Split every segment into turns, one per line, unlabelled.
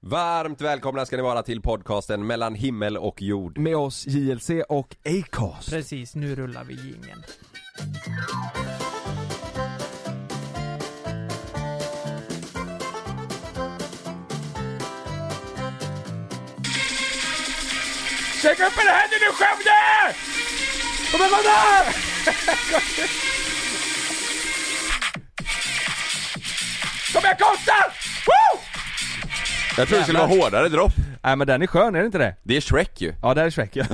Varmt välkomna ska ni vara till podcasten mellan himmel och jord.
Med oss JLC och Acast.
Precis, nu rullar vi jingeln.
Sträck upp era händer nu Skövde! Kom igen, kom där! Kom igen Konstant! Woo!
Jag tror det skulle vara hårdare dropp.
Nej men den är skön, är det inte det?
Det är Shrek ju.
Ja, där är Shrek ja.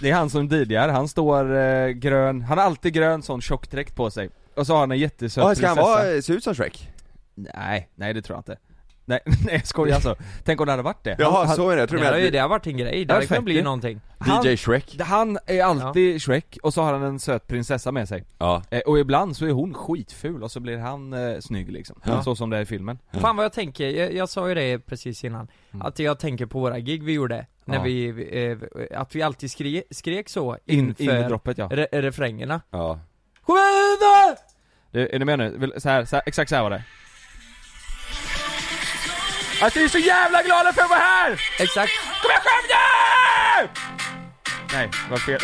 Det är han som DJar, han står eh, grön, han har alltid grön sån tjockdräkt på sig. Och så har han en jättesöt
Ja, ska han
prinsessa.
vara, se ut som Shrek?
Nej, nej det tror jag inte. Nej, nej jag skojar alltså. Tänk om det hade varit det.
Jaha,
han,
så är det. Jag tror
Det har ju
det
det har varit en grej, det
Ja,
hade kunnat
faktiskt.
bli någonting.
han,
DJ Shrek.
han är alltid Shrek, och så har han en söt prinsessa med sig.
Ja.
Eh, och ibland så är hon skitful, och så blir han eh, snygg liksom. Så som det är i filmen.
Fan vad jag tänker, jag, jag sa ju det precis innan, att jag tänker på våra gig vi gjorde, när
Mm. Ja.
vi, eh, att vi alltid skrek, skrek så
In, in i
inför
droppet ja.
re, refrängerna.
Ja.
Kom igen då!
Du, är ni med nu? Vill- Så här, så här, exakt så här var det. Att du är så jävla glada för att vara här!
Exakt.
Kom igen Skövde!
Nej, vad fel.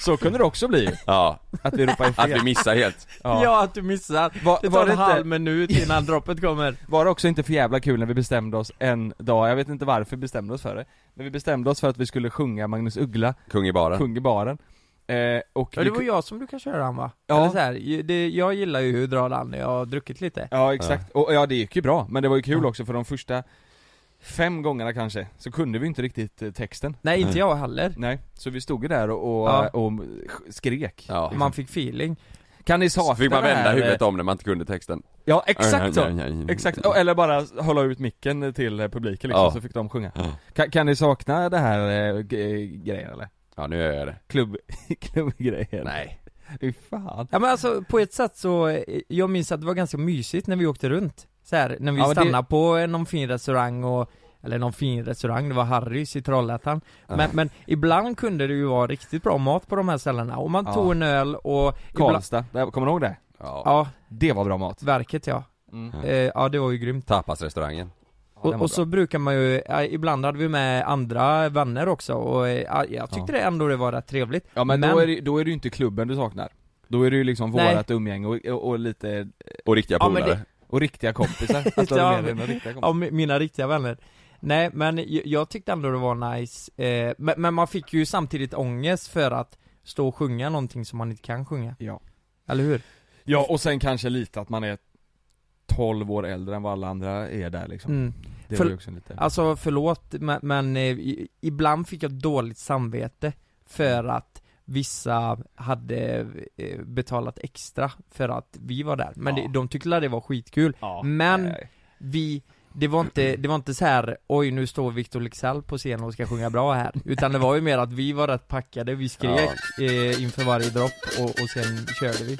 så kunde det också bli,
ja.
att vi ropar
Att
fel.
vi missar helt.
Ja.
Ja.
att du missar.
Va-
det
var
tar
det
en
inte-
halv minut innan droppet kommer.
Var det också inte för jävla kul när vi bestämde oss en dag, jag vet inte varför vi bestämde oss för det, men vi bestämde oss för att vi skulle sjunga Magnus Uggla,
Kung i baren.
Kung i baren. Eh, och
Ja
vi
det var
ku-
jag som brukade köra den va?
Ja.
Eller så här, ju- det, jag gillar ju hur drar an när jag har druckit lite.
ja exakt, och ja det gick ju bra, men det var ju kul också för de första fem gångerna kanske, så kunde vi inte riktigt eh, texten.
Nej inte jag heller.
Nej, så vi stod ju där och, och,
Ja.
och mm, skrek.
Ja.
Man fick feeling.
Kan ni
Så
sakna
fick man
det
vända
här?
huvudet om när man inte kunde texten.
Ja, exakt
Ja,
så.
ja, ja, ja.
Exakt, Och- eller bara hålla ut micken till eh, publiken liksom,
Ja.
så fick de sjunga.
Ja.
Kan, kan ni sakna det här eh, g- grejen eller?
Ja, nu gör jag det.
Klubb, klubbgrejen?
Nej.
Fy fan.
Ja men alltså på ett sätt så, eh, jag minns att det var ganska mysigt när vi åkte runt. Så här, när vi
Ja, men det-
stannade på eh, någon fin restaurang och, eller någon fin restaurang, det var Harrys i Trollhättan. Men, men ibland kunde det ju vara riktigt bra mat på de här ställena, och man
Ja.
tog en öl och... ibland-
Karlstad, där, kommer du ihåg det?
Ja.
Ja,
Det var bra mat.
verket ja.
Mm.
Eh, ja det var ju grymt.
Tapasrestaurangen.
den var
och, och så brukar man ju, ja, ibland hade vi med andra vänner också och eh, ja, jag tyckte det ändå det var rätt trevligt.
Ja men, Då, är det, då är det ju inte klubben du saknar. Då är det ju liksom
Nej.
vårat umgänge och, och, och lite, eh,
Och riktiga
Ja, men
polare.
och riktiga kompisar. Att du
Ja,
har med dig
men-
några riktiga kompisar.
Av mi- mina riktiga vänner Nej men jag, jag tyckte ändå det var nice, eh, men, men man fick ju samtidigt ångest för att stå och sjunga någonting som man inte kan sjunga
Ja.
Eller hur?
Ja och sen kanske lite att man är 12 år äldre än vad alla andra är där liksom.
Mm.
Det
För-
var ju också lite...
Alltså förlåt men, men eh, i- ibland fick jag dåligt samvete för att vissa hade eh, betalat extra för att vi var där, men
Ja.
det, de tyckte att det var skitkul
Ja,
Mm.
men-
nej.
Vi, det var inte, det var inte så här, oj nu står Victor Leksell på scen och ska sjunga bra här Utan det var ju mer att vi var rätt packade, vi skrek eh, inför varje dropp och, och sen körde vi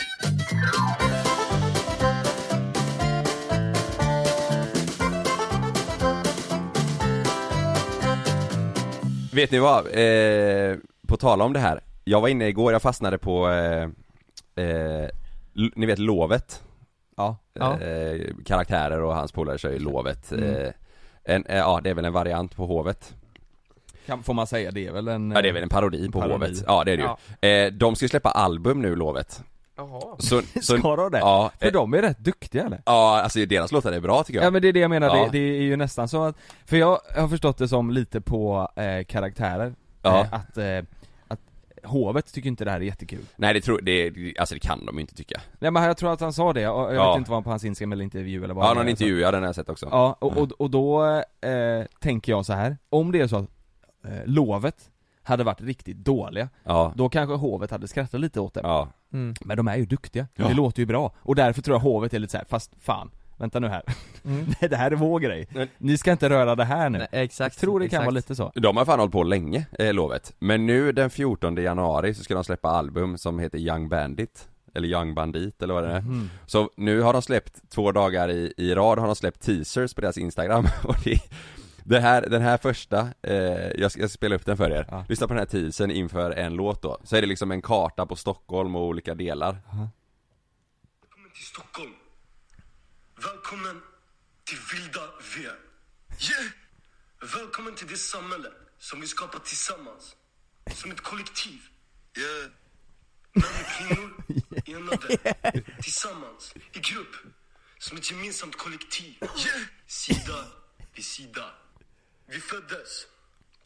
Vet ni vad? Eh, på tal om det här. Jag var inne igår, jag fastnade på, eh, eh, l- ni vet Lovet.
Ja. Mm.
Ja.
Eh, karaktärer och hans polare kör ju Lovet. Eh, en, eh, ja, det är väl en variant på Hovet.
Kan, får man säga, det är väl en...
Ja, det är väl en parodi på
Parodi.
Hovet. Ja, det är det ju. Eh, de ska ju släppa album nu, Lovet.
Jaha
Så, så
Ska de det?
ja,
eh, För
eh,
de är rätt duktiga eller?
ja, alltså deras låtar är bra tycker
Ja,
jag.
men det är det jag menar,
Ja.
det, det är ju nästan så att, för jag har förstått det som lite på eh, karaktärer,
Ja.
eh, att, eh, att hovet tycker inte det här är jättekul.
Nej, det tror, det, alltså det kan de ju inte tycka.
Nej men jag tror att han sa det, och jag
Ja.
vet inte vad han på hans Instagram eller intervju eller vad
Ja,
han
någon
gör,
intervju, ja den har jag sett också.
Så. Ja, och, och, och då eh, tänker jag så här om det är så att eh, lovet hade varit riktigt dåliga,
Ja,
då kanske hovet hade skrattat lite åt det.
ja.
mm.
Men de är ju duktiga,
Ja.
det låter ju bra. Och därför tror jag hovet är lite så här, fast fan, vänta nu här.
Mm.
Nej det här är vår grej.
Men-
Ni ska inte röra det här nu.
Nej, Exakt,
jag tror det
exakt.
kan vara lite så.
De har fan hållit på länge, eh, Lovet. Men nu den 14 januari så ska de släppa album som heter Young Bandit. Eller Young Bandit eller vad det är.
Mm.
Så nu har de släppt, två dagar i, i rad har de släppt teasers på deras instagram och det, det här, den här första, eh, jag, ska, jag ska spela upp den för er.
Ja.
Lyssna på den här teasern inför en låt då. Så är det liksom en karta på Stockholm och olika delar.
Välkommen till Stockholm.
Välkommen till vilda V. Yeah! Välkommen till det samhälle som vi skapar tillsammans. Som ett kollektiv. Yeah. Män och kvinnor enade tillsammans i grupp. Som ett gemensamt kollektiv. Yeah. Sida vid sida. Vi föddes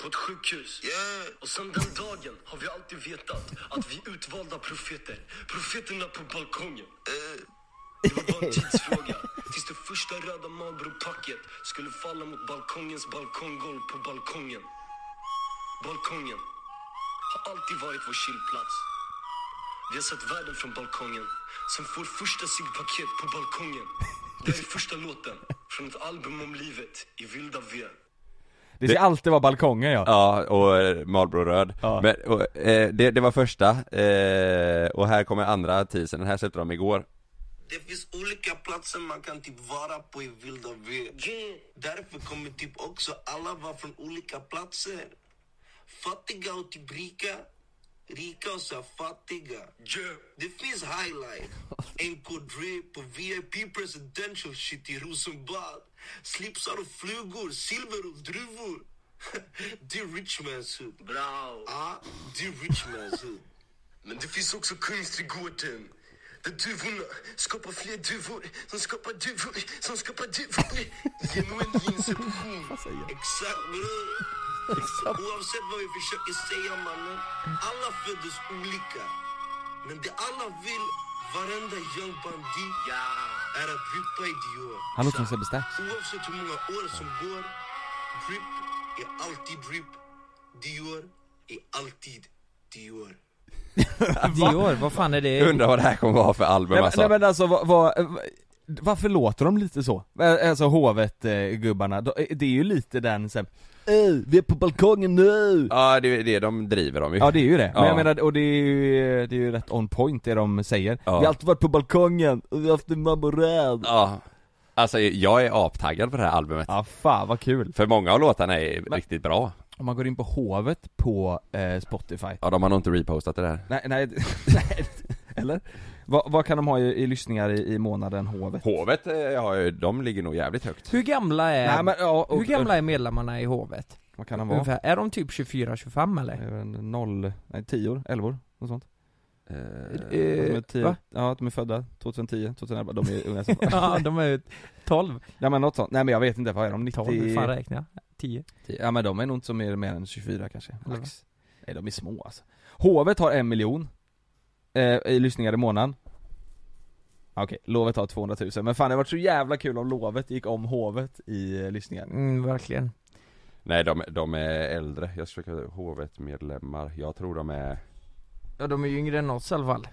på ett sjukhus. Och sen den dagen har vi alltid vetat att vi är utvalda profeter. Profeterna på balkongen. Det var bara en tidsfråga tills det första röda Marlboro-packet skulle falla mot balkongens balkonggolv på balkongen. Balkongen har alltid varit vår chillplats. Vi har sett världen från balkongen, sen får första ciggpaket på balkongen. Det här är första låten från ett album om livet i vilda V.
Det ska alltid vara balkongen ja.
Ja, och eh, Marlboro röd.
Ja.
Men, och, eh, det, det var första, eh, och här kommer andra teasern, den här släppte de igår.
Det finns olika platser man kan typ vara på i vilda V. Därför kommer typ också alla vara från olika platser. Fattiga och typ rika. Rika och så här fattiga. Det finns highlight. NK Drip och VIP presidential shit i Rosenbad. Slipsar och flugor, silver och druvor. Det är rich man's hood. Bra. Ja, det är rich man's hood. Men det finns också Kungsträdgården. Där duvorna skapar fler duvor som skapar duvor som skapar duvor. Genom en inception. Exakt bror. Oavsett vad vi försöker säga mannen. Alla föddes olika. Men det alla vill, varenda young bandit, är att djupa i Dior.
Han låter som Sebbe Stax.
Oavsett hur många år som går, drip är alltid drip. Dior är alltid Dior.
Dior, vad fan är
Jag
det?
undrar vad det här kommer vara för album
Nej, men-
alltså.
nej men alltså vad, vad, varför låter de lite så? Eh, Alltså hovet-gubbarna, eh, det är ju lite den sen, "Ey, vi är på balkongen nu!
Ja, det är det de driver om ju.
Ja det är ju det, men
Ja.
jag menar, och det är ju, det är ju rätt on point det de säger
Ja.
Vi har alltid varit på balkongen, och vi har haft en mamma rädd
Ja. Alltså jag är aptaggad på det här albumet.
Ja fan vad kul!
För många av låtarna är riktigt bra.
Om man går in på hovet på eh, Spotify
Ja, de har nog inte repostat det där.
Nej, nej, nej eller? Vad, vad kan de ha i, i lyssningar i, i månaden, hovet?
Hovet, eh, har ju, de ligger nog jävligt högt.
Hur gamla är,
Nej men ja, och,
hur gamla är medlemmarna i hovet?
vad kan de vara?
Ungefär, är de typ 24-25 eller?
Det är väl en Noll, nej tior, elvor, något sånt
Eh,
de är tio,
va?
ja att de är födda 2010, 2011, de är unga som
Ja, de är ju 12.
Ja men något sånt, nej men jag vet inte, vad är de?
12, hur
90?
fan räknar jag? 10.
Ja men de är nog inte så mer, mer än 24 kanske,
Eller
max Nej de är små alltså Hovet har en miljon eh, i lyssningar i månaden Ja, Okej, Lovet har 200 000, men fan det hade varit så jävla kul om Lovet gick om Hovet i eh, lyssningar
Mm, verkligen.
Nej, de, de är äldre. Jag ska försöka Hovet-medlemmar. Jag tror de är...
Ja, de är ju yngre än oss i alla fall.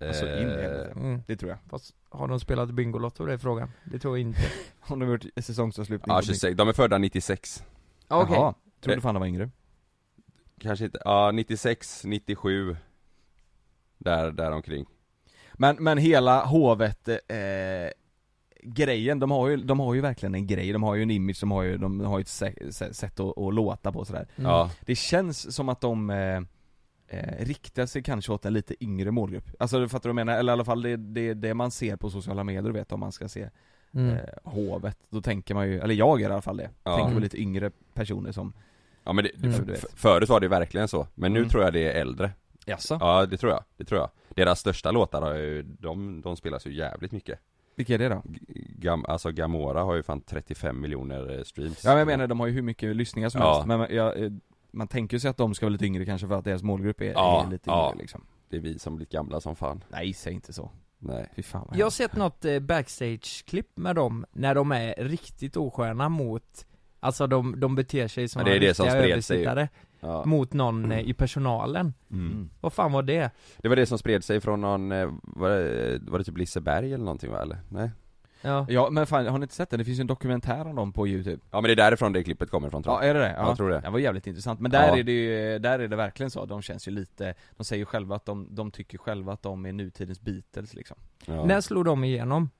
Alltså, in i
eh,
helvete.
Mm.
Det tror jag
Fast har de spelat Bingolotto? Det är frågan. Det tror jag inte.
Om de har gjort säsongsavslutning
ja,
på
26. De är födda 96.
Ja, Okej.
Jaha, trodde fan de var yngre
Kanske inte, ja 96, 97. Där, där omkring.
Men, men hela hovet eh, grejen, de har, ju, de har ju verkligen en grej, de har ju en image, de har ju, de har ju ett sä- sä- sätt att, att låta på och sådär
Mm.
Ja.
Det känns som att de eh, eh, riktar sig kanske åt en lite yngre målgrupp Alltså du fattar vad jag menar? Eller i alla fall det, det, det man ser på sociala medier du vet om man ska se
Mm.
eh, hovet Då tänker man ju, eller jag gör i alla fall det,
Ja.
tänker på lite yngre personer som
Ja men det,
Mm.
f-
Du vet.
f- förut var det ju verkligen så, men nu
Mm.
tror jag det är äldre
Jaså?
Ja det tror jag, det tror jag Deras största låtar har ju, de, de spelas ju jävligt mycket
Vilka är det då?
G- Gam, Alltså Gamora har ju fan 35 miljoner eh, streams
Ja men jag menar de har ju hur mycket lyssningar som
Ja.
helst men man- jag, eh, man tänker sig att de ska vara lite yngre kanske för att deras målgrupp är,
Ja,
är lite
ja.
yngre liksom
Det är vi som blivit gamla som fan
Nej säg inte så,
Nej
fy fan vad
Jag har sett något eh, backstage-klipp med dem när de är riktigt osköna mot Alltså de, de beter sig som
Ja, det är det
riktiga
som spred sig ju. Mm.
översittare
ja.
mot någon eh, i personalen
mm.
Vad fan var det?
Det var det som spred sig från någon, eh, var det, var det typ Liseberg eller någonting va eller? Nej?
Ja,
Ja men fan, har ni inte sett den? Det finns ju en dokumentär om dem på youtube
Ja men det är därifrån det klippet kommer ifrån tror
Ja
jag
är det det? Ja,
jag tror det.
Det var jävligt intressant, men där
Ja.
är det ju, där är det verkligen så, de känns ju lite, de säger ju själva att de, de tycker själva att de är nutidens Beatles liksom
Ja,
När slog de igenom?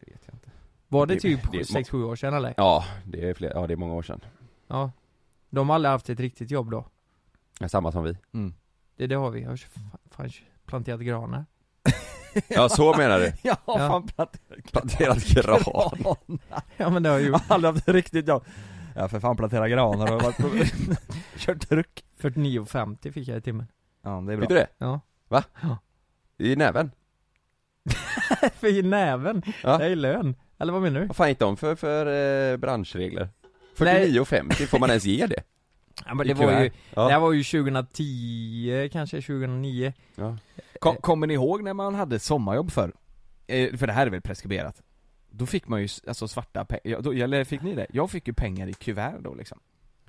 Det vet jag inte
Var det,
Det-
typ
det är
6-7 år sedan eller?
ja det är fler, ja det är många år sedan
Ja De har aldrig haft ett riktigt jobb då
Samma som vi
Det, det har vi, jag har ju fan- fan planterat granar
Ja så menar du?
Jag har
Ja.
fan planterat
Planterad gran
gran.
Ja men det har jag
Jag
gjort
har aldrig haft riktigt jobb. Jag har för fan planterat granar och varit på... kört truck.
49,50 fick jag i timmen
Ja det är bra.
Fick du det?
Ja
Va?
Ja.
I näven?
För i näven,
Ja.
det är lön Eller vad menar du?
Vad fan gick de för, för eh, branschregler?
Nej.
49,50, får man ens ge det?
Ja men
I
det var ju,
kuvert.
det här
Ja.
var ju 2010 kanske, 2009
ja.
Kom, kommer ni ihåg när man hade sommarjobb förr? Eh, för det här är väl preskriberat? Då fick man ju s- alltså svarta pengar, eller fick ni det? Jag fick ju pengar i kuvert då liksom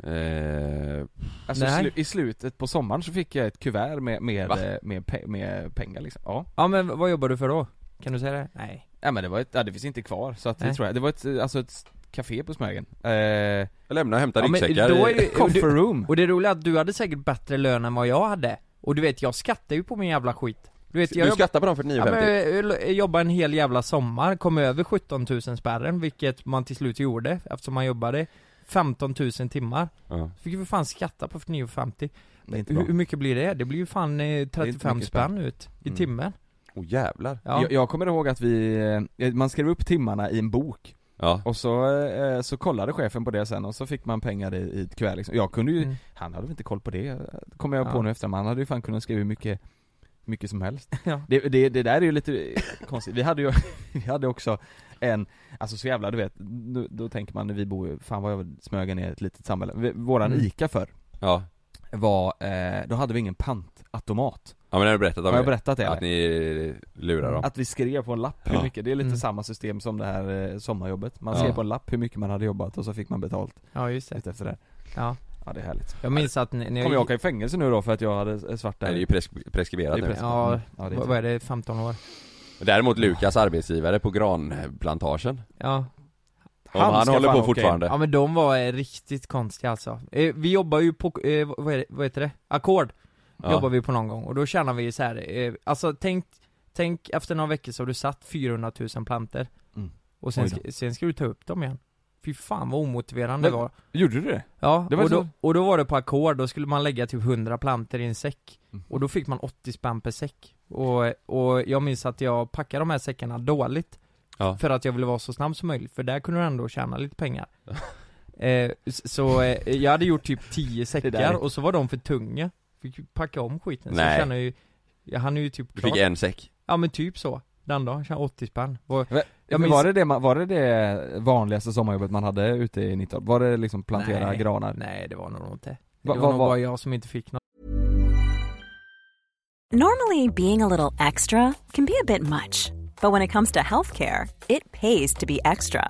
Eh,
Alltså
Nej.
slu, i slutet på sommaren så fick jag ett kuvert med, med,
Va?
eh, med, pe- med pengar liksom, ja
Ja men vad jobbar du för då? Kan du säga det? Nej
Ja men det var ett, ja, det finns inte kvar så att det
Nej.
tror jag, det var ett, eh, alltså ett café på Smögen eh,
jag lämnar och hämtar
Ja, men
ryggsäckar
då
i-
är det, och,
Comfort
du,
room!
och det roliga är att du hade säkert bättre lön än vad jag hade Och du vet, jag skattar ju på min jävla skit Du vet, jag
Du
jobb,
skrattar på dem för
ja,
9,50?
men, jag- jag jobbade en hel jävla sommar, kom över 17 000 spärren, vilket man till slut gjorde eftersom man jobbade 15 000 timmar
Ja.
Fick ju för fan skatta på 9,50
Det är inte bra.
Hur hur mycket blir det? Det blir ju fan eh, 35
mycket
spänn ut i
Mm.
timmen
Åh jävlar
Ja,
Jag, jag kommer ihåg att vi, eh, man skrev upp timmarna i en bok
Ja,
och så, eh, så kollade chefen på det sen och så fick man pengar i, i ett kuvert liksom. Jag kunde ju,
Mm.
han hade väl inte koll på det, eh, kommer jag på
Ja.
nu efter, men han hade ju fan kunnat skriva hur mycket, mycket som helst
Ja.
det, det, det där är ju lite eh, konstigt, vi hade ju, vi hade också en, alltså så jävla du vet, då, då tänker man, vi bor ju, fan vad jag Smögen är ett litet samhälle, Vi- våran
Mm.
ICA förr
ja,
var, eh, då hade vi ingen pantautomat,
ja men det har du berättat om
har jag
det.
berättat det? eller?
Att ni lurar dem
Att vi skrev på en lapp hur
Ja.
mycket, det är lite
Mm.
samma system som det här eh, sommarjobbet Man
Ja.
skrev på en lapp hur mycket man hade jobbat och så fick man betalt
ja just det,
efter det
ja
Ja det är härligt
Jag minns att när när
Kommer jag åka i fängelse nu då för att jag hade svart där?
Nej, det är ju presk- preskriberat
Det är
nu
preskriberat.
Ja,
ja, det är
vad vad är det, 15 år?
Däremot Lukas arbetsgivare på granplantagen
Ja,
Om han,
ska
håller
fan
på
åka in.
fortfarande
ja men de var eh, riktigt konstiga alltså eh, Vi jobbar ju på, eh, vad, är det, vad heter det? Ackord
Ja.
jobbar vi på någon gång och då tjänar vi så här. Eh, alltså tänk, tänk efter några veckor så har du satt 400 000 planter
Mm.
Och sen,
Oj då.
ska, sen ska du ta upp dem igen Fy fan vad omotiverande
Men-
det var
Gjorde du det?
Ja,
Det var
och, då,
så-
och då var det på ackord, då skulle man lägga typ 100 planter i en säck
Mm.
Och då fick man 80 spänn per säck och, och jag minns att jag packade de här säckarna dåligt
Ja.
För att jag ville vara så snabb som möjligt, för där kunde du ändå tjäna lite pengar eh, s- Så eh, jag hade gjort typ 10 säckar
där.
och så var de för tunga Fick ju packa om skiten, så
Nej.
jag känner ju Jag hann ju typ
Du fick
klart
en säck
Ja men typ så, den dagen, tjänade 80 spänn och,
Ja,
Jag
men
minns-
var, det det man, var det det vanligaste sommarjobbet man hade ute i Nittorp? Var det liksom plantera
Nej.
granar?
Nej det var nog inte Det
Va-
var
va-
nog
va-
bara jag som inte fick något
Normally, being a little extra can be a bit much, but when it comes to healthcare, it pays to be extra.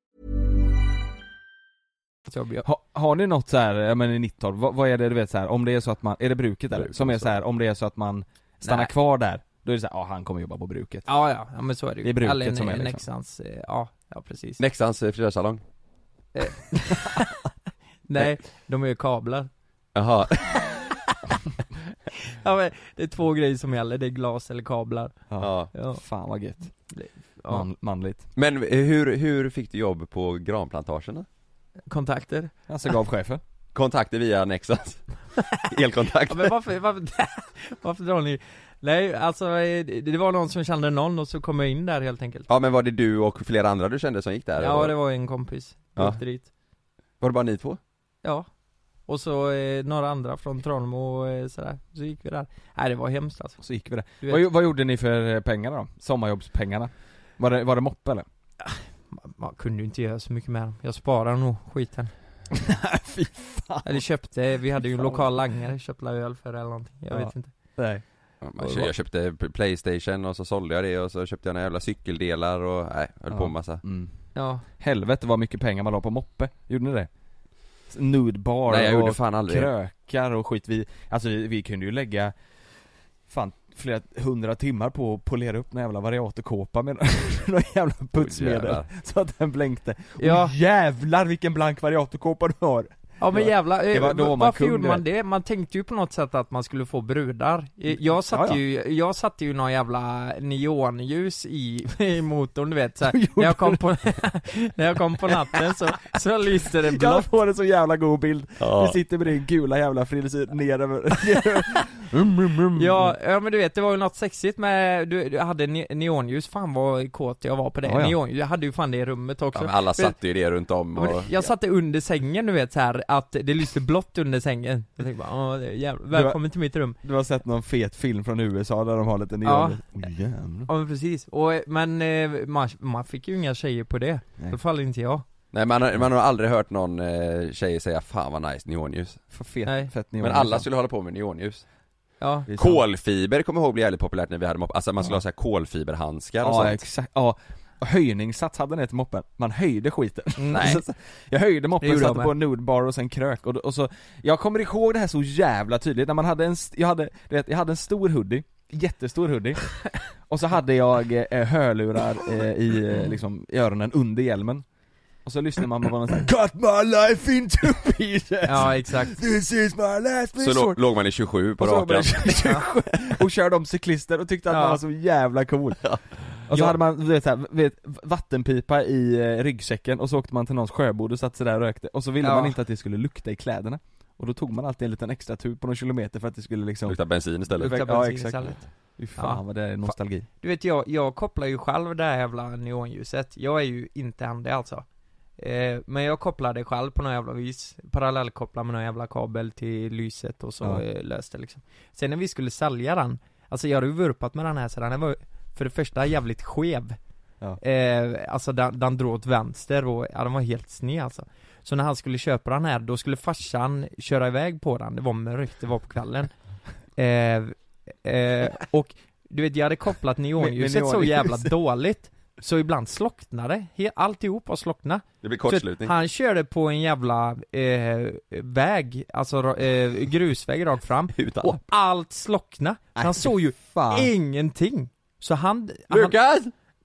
jobb jag-
Ha, har ni något så här, ja men i Nittorp, vad, vad är det du vet så här, om det är så att man, är det bruket där?
Bruket,
Som är
så.
så här, om det är så att man stannar
Nej.
kvar där, då är det så här, ja han kommer jobba på bruket
Ja, ja, ja men så är det ju.
Det är bruket
Eller en,
som är
en
liksom.
Leksands, eh, ja, ja precis.
Leksands eh, frisörsalong
Nej, de är ju kablar.
Jaha,
Ja, men det är två grejer som gäller, det är glas eller kablar.
ja
Ja,
Fan vad gött,
ja.
Man, manligt
Men eh, hur, hur fick du jobb på granplantagen då?
Kontakter.
Alltså gav chefen
Kontakter via Nexans Elkontakt
Ja, men varför, varför, varför drar ni? Nej, alltså eh, det det var någon som kände någon och så kom jag in där helt enkelt
Ja men var det du och flera andra du kände som gick där?
Ja
Var-
det var en kompis,
Ja.
ja. åkte dit
Var det bara ni två?
Ja Och så eh, några andra från Tranemo och eh, sådär, så gick vi där Nej det var hemskt alltså
Så gick vi där.
du vet,
Vad, gjo- vad gjorde ni för eh, pengarna då? Sommarjobbspengarna? Var det, var det moppe eller?
man, man kunde ju inte göra så mycket med dem, jag sparade nog skiten
Fy fan.
Eller köpte, vi hade ju en
Fan.
lokal langare, köpte la öl för det eller någonting, jag
Ja.
vet inte
Nej.
Ja, man- Jag köpte p- Playstation och så sålde jag det och så köpte jag några jävla cykeldelar och nej, höll
Ja.
på en massa
Mm.
Ja,
Helvete vad mycket pengar man la på moppe. Gjorde ni det? Nude bar
Nej jag gjorde
och
fan aldrig det.
krökar och skit. Vi, alltså vi, vi kunde ju lägga fan flera hundra timmar på att polera upp en jävla variatorkåpa med några jävla putsmedel.
jävlar.
så att den blänkte. Och
Ja.
jävlar vilken blank variatorkåpa du har!
ja men
Det var-
jävlar, eh,
det var- då var man
varför
kung,
gjorde
du
man
vet.
det? Man tänkte ju på något sätt att man skulle få brudar Eh, Jag satte
Ja, ja.
ju, jag satte ju någon jävla neonljus i, i motorn du vet så här, när jag kom på, när jag kom på natten så, så lyste det
Jag
blått
får en så jävla god bild.
Ja.
Du sitter med din gula jävla frisyr ner över...
Mm,
Ja, ja men du vet, det var ju något sexigt med, du, du hade ne- neonljus, fan vad kåt jag var på det,
Ja, ja.
neonljus, jag hade ju fan det i rummet
Ja,
också
men alla satt ju det runt om
Ja, men
och...
Jag satte under sängen du vet så här att det lyste blått under sängen Jag tänkte bara, åh, det är jävla, välkommen till mitt rum
Du har sett någon fet film från USA där de har lite
Ja.
neon... Oh, jävlar.
Ja men precis, och, eh, men eh, man, man fick ju inga tjejer på det, i alla fall inte jag
Nej man har, man har aldrig hört någon eh, tjej säga 'Fan vad nice neonljus'
För fet,
Nej.
fett liksom. neon.
Men alla skulle hålla på med neonljus
Ja,
Det är sant.
Kolfiber kommer jag ihåg blev jävligt populärt när vi hade mopp, alltså man skulle ha så här kolfiberhandskar och
Ja
sånt
exakt, ja. Och Höjningssats hade den till moppen, man höjde skiten.
nej
Så- Jag höjde
Det
moppen,
gjorde jag
satte på en nudebar och sen krök och, då- och så Jag kommer ihåg det här så jävla tydligt, när man hade en, st- jag hade, du vet, jag hade en stor hoodie Jättestor hoodie Och så hade jag eh, hörlurar eh, i, eh, liksom, i öronen under hjälmen Och så lyssnade man på någon sån här 'Cut my life into pieces!
Ja exakt,
This is my last
Så lå-
resort'
låg man i 27 på
Och så var
rakan
man 27 och körde om cyklister och tyckte att
Ja.
man var så jävla cool Och så
Ja.
hade man, du vet, så här, vet, vattenpipa i eh, ryggsäcken och så åkte man till någons sjöbord och satt sig där och rökte Och så ville
Ja.
man inte att det skulle lukta i kläderna Och då tog man alltid en liten extra tur på någon kilometer för att det skulle liksom
Luktar bensin istället
lukta
Ja,
bensin
exakt.
istället
Fy fan
Ja.
vad det är nostalgi
Du vet jag, jag kopplar ju själv det här jävla neonljuset, jag är ju inte han det alltså eh, Men jag kopplar det själv på någon jävla vis, parallellkopplar med någon jävla kabel till lyset och så
Ja.
eh, löste liksom Sen när vi skulle sälja den, alltså jag hade ju vurpat med den här så den här var för det första jävligt skev
Ja.
eh, Alltså den, den drog åt vänster och, ja den var helt sned alltså Så när han skulle köpa den här, då skulle farsan köra iväg på den, det var mörkt, det var på kvällen eh, eh, Och du vet, jag hade kopplat neonljuset
Med- med
så
neonljus.
jävla dåligt Så ibland slocknade det, alltihop var slockna
Det blir
Så
kortslutning
Han körde på en jävla eh, väg, alltså ra- eh, grusväg rakt fram
Utan
Och allt slockna Så han såg ju
Äh, Fan.
ingenting Så han, han
Lukas!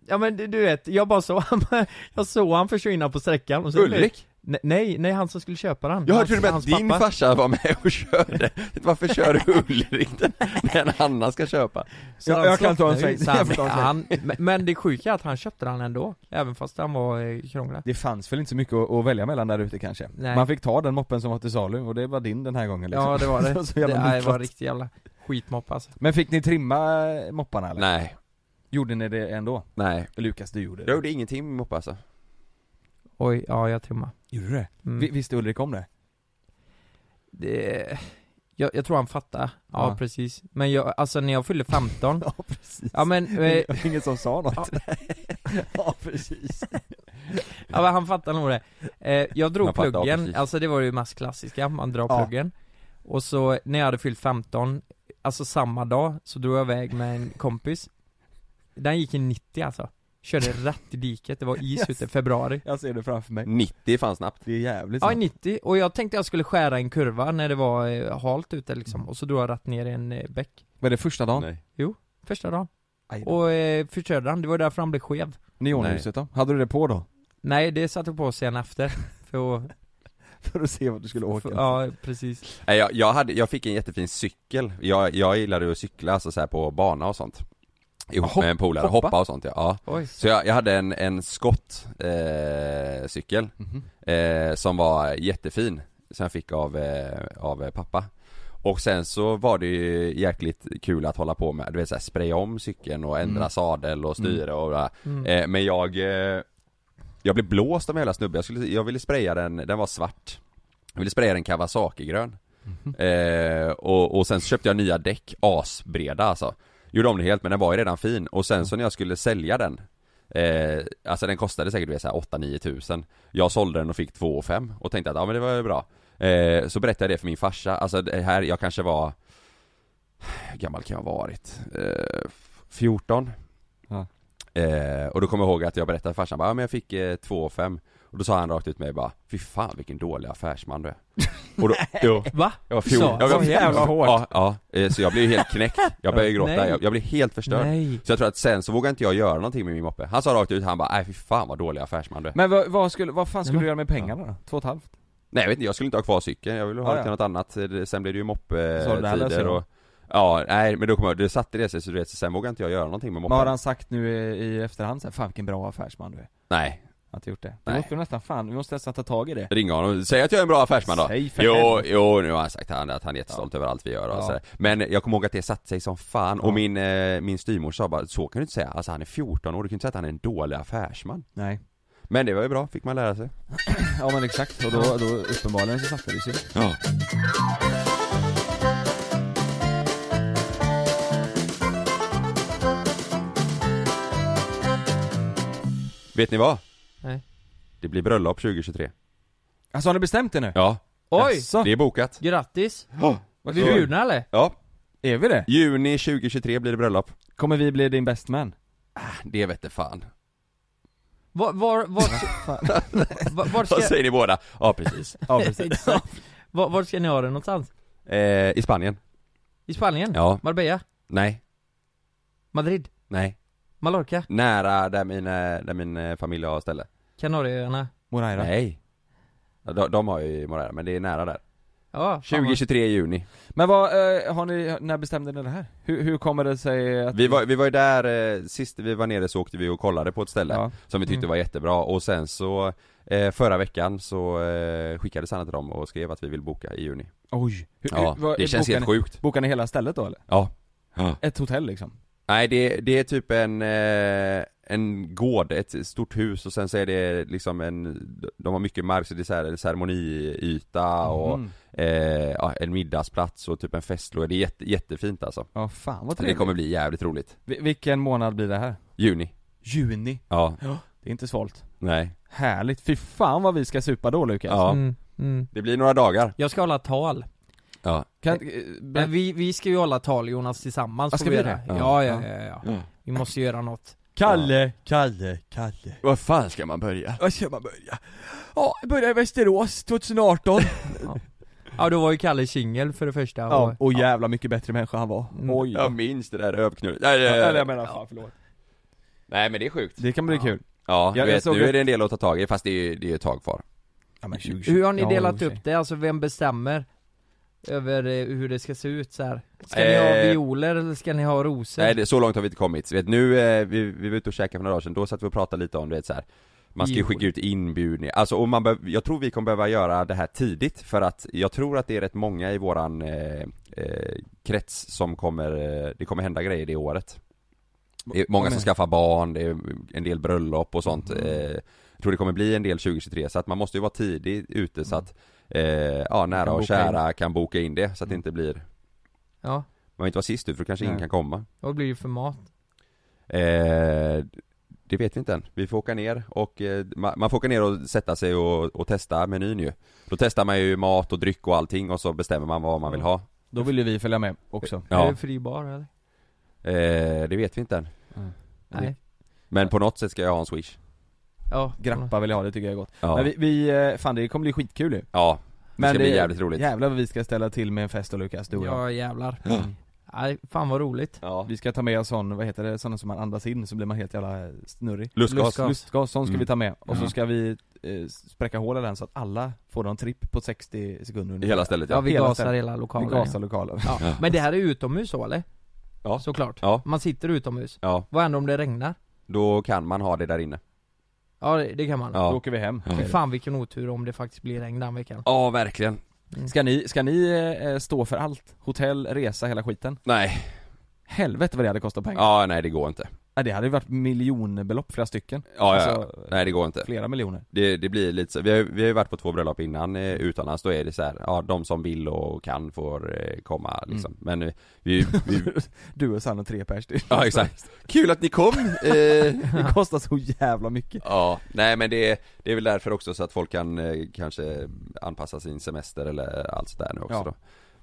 ja men du- du vet, jag bara såg han, jag såg han försvinna på sträckan och så-
Ulrik?
Ne- Nej, nej han som skulle köpa den
Jag hörde
Hans-
till och med att
hans
din
pappa.
farsa var med och körde Varför kör Ulrik den när en annan ska köpa?
Så
Jag-
han
jag kan ta en
slocknade ju.
sväng.
Så han-
Jag får ta en sväng.
han- men- Men det sjuka är att han köpte den ändå, även fast han var eh, krånglig
Det fanns väl inte så mycket att, att välja mellan där ute kanske?
Nej.
Man fick ta den moppen som var till salu och det var din den här gången liksom.
Ja det var det,
Så
det,
jävla
nej, det var
nyklatt.
riktigt jävla skitmopp alltså
Men fick ni trimma eh, mopparna eller?
Nej,
Gjorde ni det ändå?
nej
Lukas du gjorde det?
Jag gjorde ingenting med moppe alltså
Oj, ja jag trimmade
Gjorde du det?
mm.
Vi- Visste Ulrik om det?
det, jag, jag tror han fattade, ja,
Ja.
precis Men jag, alltså när jag fyllde 15
Ja precis
Ja men, eh,
Det var Ingen som sa något Ja precis
ja, men han fattade nog det eh, Jag drog
Han fattade, ja,
pluggen,
precis.
alltså det var ju mest klassiska, man drar
Ja.
pluggen Och så när jag hade fyllt 15, alltså samma dag, så drog jag iväg med en kompis Den gick i 90 alltså Körde rätt i diket, det var is
Yes.
ute i februari
Jag ser det framför mig
90 fanns snabbt
Det är jävligt
Ja,
sant.
90, och jag tänkte jag skulle skära en kurva när det var eh, halt ute
Mm.
liksom, och så drog jag rätt ner i en eh, bäck
Var det första dagen?
Nej
Första dagen,
Aj då.
och eh, förstörde den, det var därför han blev skev
Neonljuset då? Hade du det på då?
Nej, det satte jag på sen efter, för att,
För att se vart du skulle åka
för, ja precis
Nej, jag, jag, hade, jag fick en jättefin cykel, jag, jag gillade ju att cykla alltså så här på bana och sånt Ihop
Hopp-
med en polare,
hoppa?
hoppa. och sånt ja, ja.
Oj,
Så jag, jag hade en, en skottcykel eh, cykel,
Mhm.
eh, som var jättefin Som jag fick av, eh, av eh, pappa Och sen så var det ju jäkligt kul att hålla på med, du vet såhär spraya om cykeln och ändra
Mm.
sadel och styre och bla.
Mm.
Eh, Men jag eh, Jag blev blåst av hela snubben, jag, skulle, jag ville spraya den, den var svart Jag ville spraya den Kawasaki-grön
mhm.
eh, och, och sen så köpte jag nya däck, asbreda alltså Gjorde om den helt men den var ju redan fin och sen så när jag skulle sälja den eh, Alltså den kostade säkert du vet, så här 8-9 tusen Jag sålde den och fick 2 5 och tänkte att ja men det var ju bra eh, Så berättade jag det för min farsa, alltså det här, jag kanske var hur gammal kan jag ha varit? Eh, 14
Ja.
eh, Och då kommer jag ihåg att jag berättade för farsan bara, ja, men jag fick eh, 2 5 Och då sa han rakt ut mig bara, fy fan vilken dålig affärsman du är Och då, jo,
Va?
jag var
Så,
14 jag var
så jävla hårt.
Ja, ja, eh, så jag blev ju helt knäckt, jag började gråta,
Nej.
jag, jag blev helt förstörd
Nej.
Så jag tror att sen så vågade inte jag göra någonting med min moppe Han sa rakt ut, han bara, nej fy fan vad dålig affärsman du är
Men vad, vad, skulle, vad fan skulle
men-
du göra med pengarna då? Två och ett halvt?
Nej jag vet inte, jag skulle inte ha kvar cykeln, jag ville ha
Ah,
det
ja.
till något annat, Eh, Det- sen blev det ju
Så det här löser
moppetider
jag.
och Ja, nej men då kommer jag, det satte det sig så du vet, så sen vågade inte jag göra någonting med
Men
moppen
har han sagt nu i, i efterhand så här, fan vilken bra affärsman du är?
Nej,
Att du gjort det? Vi
Nej.
måste nästan, fan, vi måste nästan ta tag i det
ringa honom, säg att jag är en bra affärsman då
Säg för
Jo,
helvete.
jo nu har han sagt han, att han är jättestolt över allt vi gör och
Ja.
sådär. Men jag kommer ihåg att det satte sig som fan
Ja.
och min, eh, min styvmor sa bara, så kan du inte säga, alltså han är 14 år, du kan inte säga att han är en dålig affärsman
Nej
Men det var ju bra, fick man lära sig
Ja men exakt, och då, då uppenbarligen så satte det sig
Ja Vet ni vad?
Nej.
Det blir bröllop 2023
Alltså har ni bestämt det nu?
Ja,
Oj!
Jaså?
det är bokat
Grattis! Var vi
Oj.
bjudna eller?
Ja,
Är vi det?
juni 2023 blir det bröllop
Kommer vi bli din best man?
Det vette fan
Var, var, var, var, var,
Vad
ska,
säger ni båda? Ja precis
Ja precis
var, var ska ni ha det någonstans?
eh, I Spanien?
I Spanien?
Ja
Marbella?
Nej
Madrid?
Nej
Mallorca?
Nära där min, eh, där min eh, familj har ställe
Kanarieöarna?
Moraira?
Nej Ja, de, de har ju Morera men det är nära där
Ja, fan vad-
2023 i juni
Men vad, eh, har ni, när bestämde ni det här? Hur, hur kommer det sig att
Vi var, vi var ju där, eh, sist vi var nere så åkte vi och kollade på ett ställe
Ja.
som vi tyckte
Mm.
var jättebra och sen så eh, Förra veckan så eh, skickades han till dem och skrev att vi vill boka i juni
Oj! Hur,
Ja,
hur, vad,
det känns
bokar
helt
ni,
sjukt
Bokar ni hela stället då eller?
Ja, ja.
Ett hotell liksom?
Nej det, det är typ en, eh, en gård, ett stort hus och sen så är det liksom en De har mycket mark så det är så här ceremoniyta och
Mm.
eh, ja, en middagsplats och typ en festlåda, det är jätte, jättefint alltså
Ja fan vad
Det
trevligt
kommer bli jävligt roligt
Vi- Vilken månad blir det här?
Juni
Juni
Ja,
Det är inte svalt
nej
Härligt, fy fan vad vi ska supa då Lukas
Ja.
Mm, mm.
Det blir några dagar
Jag ska hålla tal.
Ja
Kan, eh,
Men
ber-
vi, vi ska ju hålla tal Jonas tillsammans
Ah,
får
ska vi
göra.
det?
Ja,
Ja.
ja, ja, ja, ja. Vi måste göra något.
Kalle, Kalle, Kalle
Var fan ska man börja?
Var ska man börja? Ja, börja i Västerås 2018
Ja, då var ju Kalle singel för det första.
Ja,
och-
och jävla mycket bättre människa han var
Mm.
Oj
Jag minns det där rövknullet, nej, nej,
Eller
nej,
jag menar, fan förlåt
nej men det är sjukt
Det kan bli
Ja.
kul
Ja, du
Jag- jag
vet,
såg
nu
ett-
är det en del att ta tag i fast det är ju det är ju ett tag kvar
ja, men
Hur har ni
Ja,
delat
i och för
upp
sig.
det? Alltså vem bestämmer? Över eh, hur det ska se ut så här. Ska ni ha
Eh.
violer eller ska ni ha rosor?
Nej det, så långt har vi inte kommit, vet nu, eh, vi, vi var ute och käkade för några dagar sedan, då satt vi och pratade lite om du vet så här. Man ska ju
Jo.
skicka ut inbjudningar, alltså och man behöv, jag tror vi kommer behöva göra det här tidigt för att jag tror att det är rätt många i våran eh, eh, krets som kommer, eh, det kommer hända grejer det året Det är många som skaffar barn, det är en del bröllop och sånt
Mm.
eh, Jag tror det kommer bli en del 2023 så att man måste ju vara tidig ute så att eh, ja, nära
Mm. Kan
och
boka Mm.
kära kan boka in det så att det inte blir
Ja,
Man vill inte vara sist ut för då kanske ingen
Nej.
kan komma
vad blir det för mat?
Eh, det vet vi inte än. Vi får åka ner och, eh, ma- man får åka ner och sätta sig och, och testa menyn ju. Då testar man ju mat och dryck och allting och så bestämmer man vad man vill ha.
Då vill ju vi följa med också
Är
Ja,
det fri bar eller?
eh, det vet vi inte än.
Nej.
Men på något sätt ska jag ha en swish.
Ja.
Grappa vill jag ha, det tycker jag är gott
Ja,
Men vi, vi, eh, fan det kommer bli skitkul ju
ja det
Men
ska bli jävligt roligt.
Jävlar vad vi ska ställa till med en fest då Lukas, du och jag
Ja jävlar. Nej, fan vad roligt.
Ja.
Vi ska ta med en sån, vad heter det, sån som man andas in så blir man helt jävla snurrig
Lustgas.
Lustgas, sån ska
Mm.
vi ta med. Och så
Ja.
ska vi eh, spräcka hål i den så att alla får en tripp på 60
I
sekunder ungefär.
hela stället
Ja
ja.
vi
hela
gasar
stället.
hela lokalen.
Vi gasar lokalen.
Ja. Ja. Men det här är utomhus så eller?
Ja.
Såklart.
Ja.
Man sitter utomhus.
Ja,
Vad händer om det regnar?
då kan man ha det där inne.
Ja det, det kan man.
Då
Ja,
åker vi hem.
Fy fan vilken otur om det faktiskt blir regn den veckan.
ja verkligen.
Ska ni, ska ni eh, stå för allt? Hotell, resa, hela skiten?
Nej,
Helvete vad det hade kostat pengar.
ja nej det går inte
Ja. Det hade ju varit miljonbelopp, flera stycken.
Ja, ja,
Alltså,
ja. nej det går inte
Flera miljoner.
Det, det blir lite så, vi har, vi har ju varit på två bröllop innan eh, utomlands, då är det så här, ja de som vill och kan får eh, komma liksom Men eh, vi, vi
Du och Sanna tre pers till.
ja exakt Kul att ni kom! Eh,
Det kostar så jävla mycket.
ja, nej men det, det är väl därför också så att folk kan eh, kanske anpassa sin semester eller allt sådär nu också
Ja.
då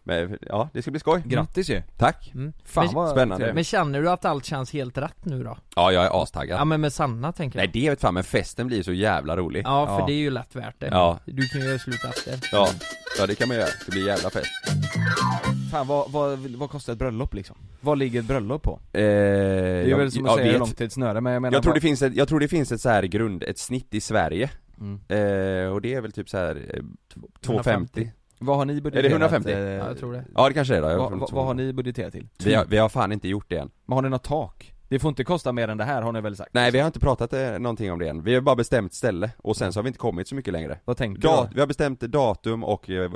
Men ja, det ska bli skoj!
Grattis ju.
Mm. Tack!
Mm.
Fan
men,
vad
spännande.
trevligt.
men känner du att allt känns helt rätt nu då?
Ja jag är
Ja,
astaggad
men med Sanna tänker jag
Nej det vet fan men festen blir så jävla rolig
Ja, för
Ja.
det är ju lätt värt det
Ja.
Du kan ju göra slut efter
Ja, ja det kan man göra, det blir jävla fest
Fan vad, vad, vad kostar ett bröllop liksom? Vad ligger ett bröllop på?
eh,
Det är väl som att säga långtidssnöre men jag menar
Jag tror,
vad-
det finns ett, jag tror det finns ett så här grund, ett snitt i Sverige
Mm.
eh, Och det är väl typ så här eh, t- 250
Vad har ni budgeterat?
150?
eh,
Ja, jag tror det
Ja det kanske är det, jag
vad,
tror
vad,
inte
vad har
så.
ni budgeterat till?
vi, har, vi har fan inte gjort det än
Men har ni något tak? Det får inte kosta mer än det här har ni väl sagt?
Nej vi har inte pratat eh, någonting om det än, vi har bara bestämt ställe och sen så har vi inte kommit så mycket längre
Vad tänker
Dat,
du?
Vi har bestämt datum och eh,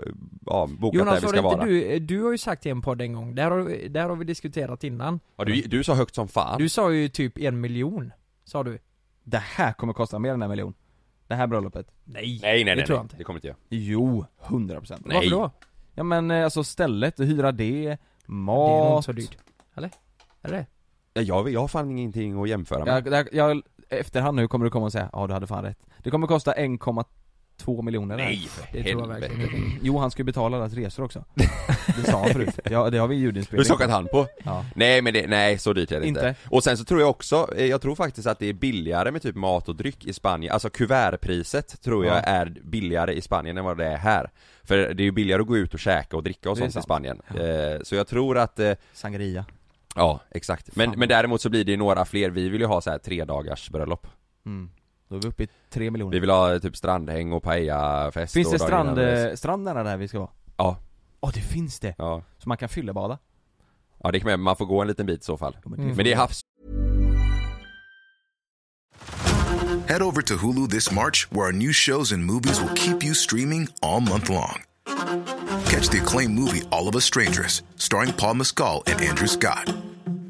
ja, bokat
Jonas,
där
har
vi ska
inte
vara
du, eh, du har ju sagt i en podd en gång, där har, där har vi diskuterat innan
ja, du, du sa högt som fan
Du sa ju typ en miljon, sa du
Det här kommer kosta mer än en miljon. Det här bröllopet.
Nej,
Nej nej
det
nej,
tror jag
nej.
inte
det kommer inte jag
Jo, 100% procent.
Nej.
Varför då?
Ja men eh, alltså stället, hyra det,
Det är nog inte
mat.
så dyrt, eller? Är det?
Ja, jag, jag har fan ingenting att jämföra med
Jag, jag, jag, efterhand nu kommer du komma och säga ja du hade fan rätt. Det kommer kosta 1,2 miljoner det här.
Nej för
Det tror jag verkligen
helvete
Jo han ska ju betala deras resor också. Det sa han förut. Ja det har vi i
Du
ljudinspelning.
skakade hand på?
Ja.
Nej men det, nej så dyrt är det inte.
Inte?
Och sen så tror jag också, eh, jag tror faktiskt att det är billigare med typ mat och dryck i Spanien, alltså kuvertpriset tror jag
Ja.
är billigare i Spanien än vad det är här. För det är ju billigare att gå ut och käka och dricka och
Det är
sånt i
sant.
Spanien. Eh, Så jag tror att, eh,
Sangria.
ja exakt. Men,
Fan.
men däremot så blir det ju några fler, vi vill ju ha så här tre dagars bröllop.
Mm. Då är vi uppe i 3 miljoner.
Vi vill ha eh, typ strandhäng och paellafest
Finns
och
det
dagen
strand,
innan
eh, strand nära där vi ska vara?
Ja.
Ja det finns det.
Ja.
Så man kan fyllebada.
ja, det kan man, man får gå en liten bit i så fall.
Ja,
Mm.
Men det är havs...
Head over to Hulu this March, where our new shows and movies will keep you streaming all month long. Catch the acclaimed movie All of Us Strangers, starring Paul Mescal and Andrew Scott.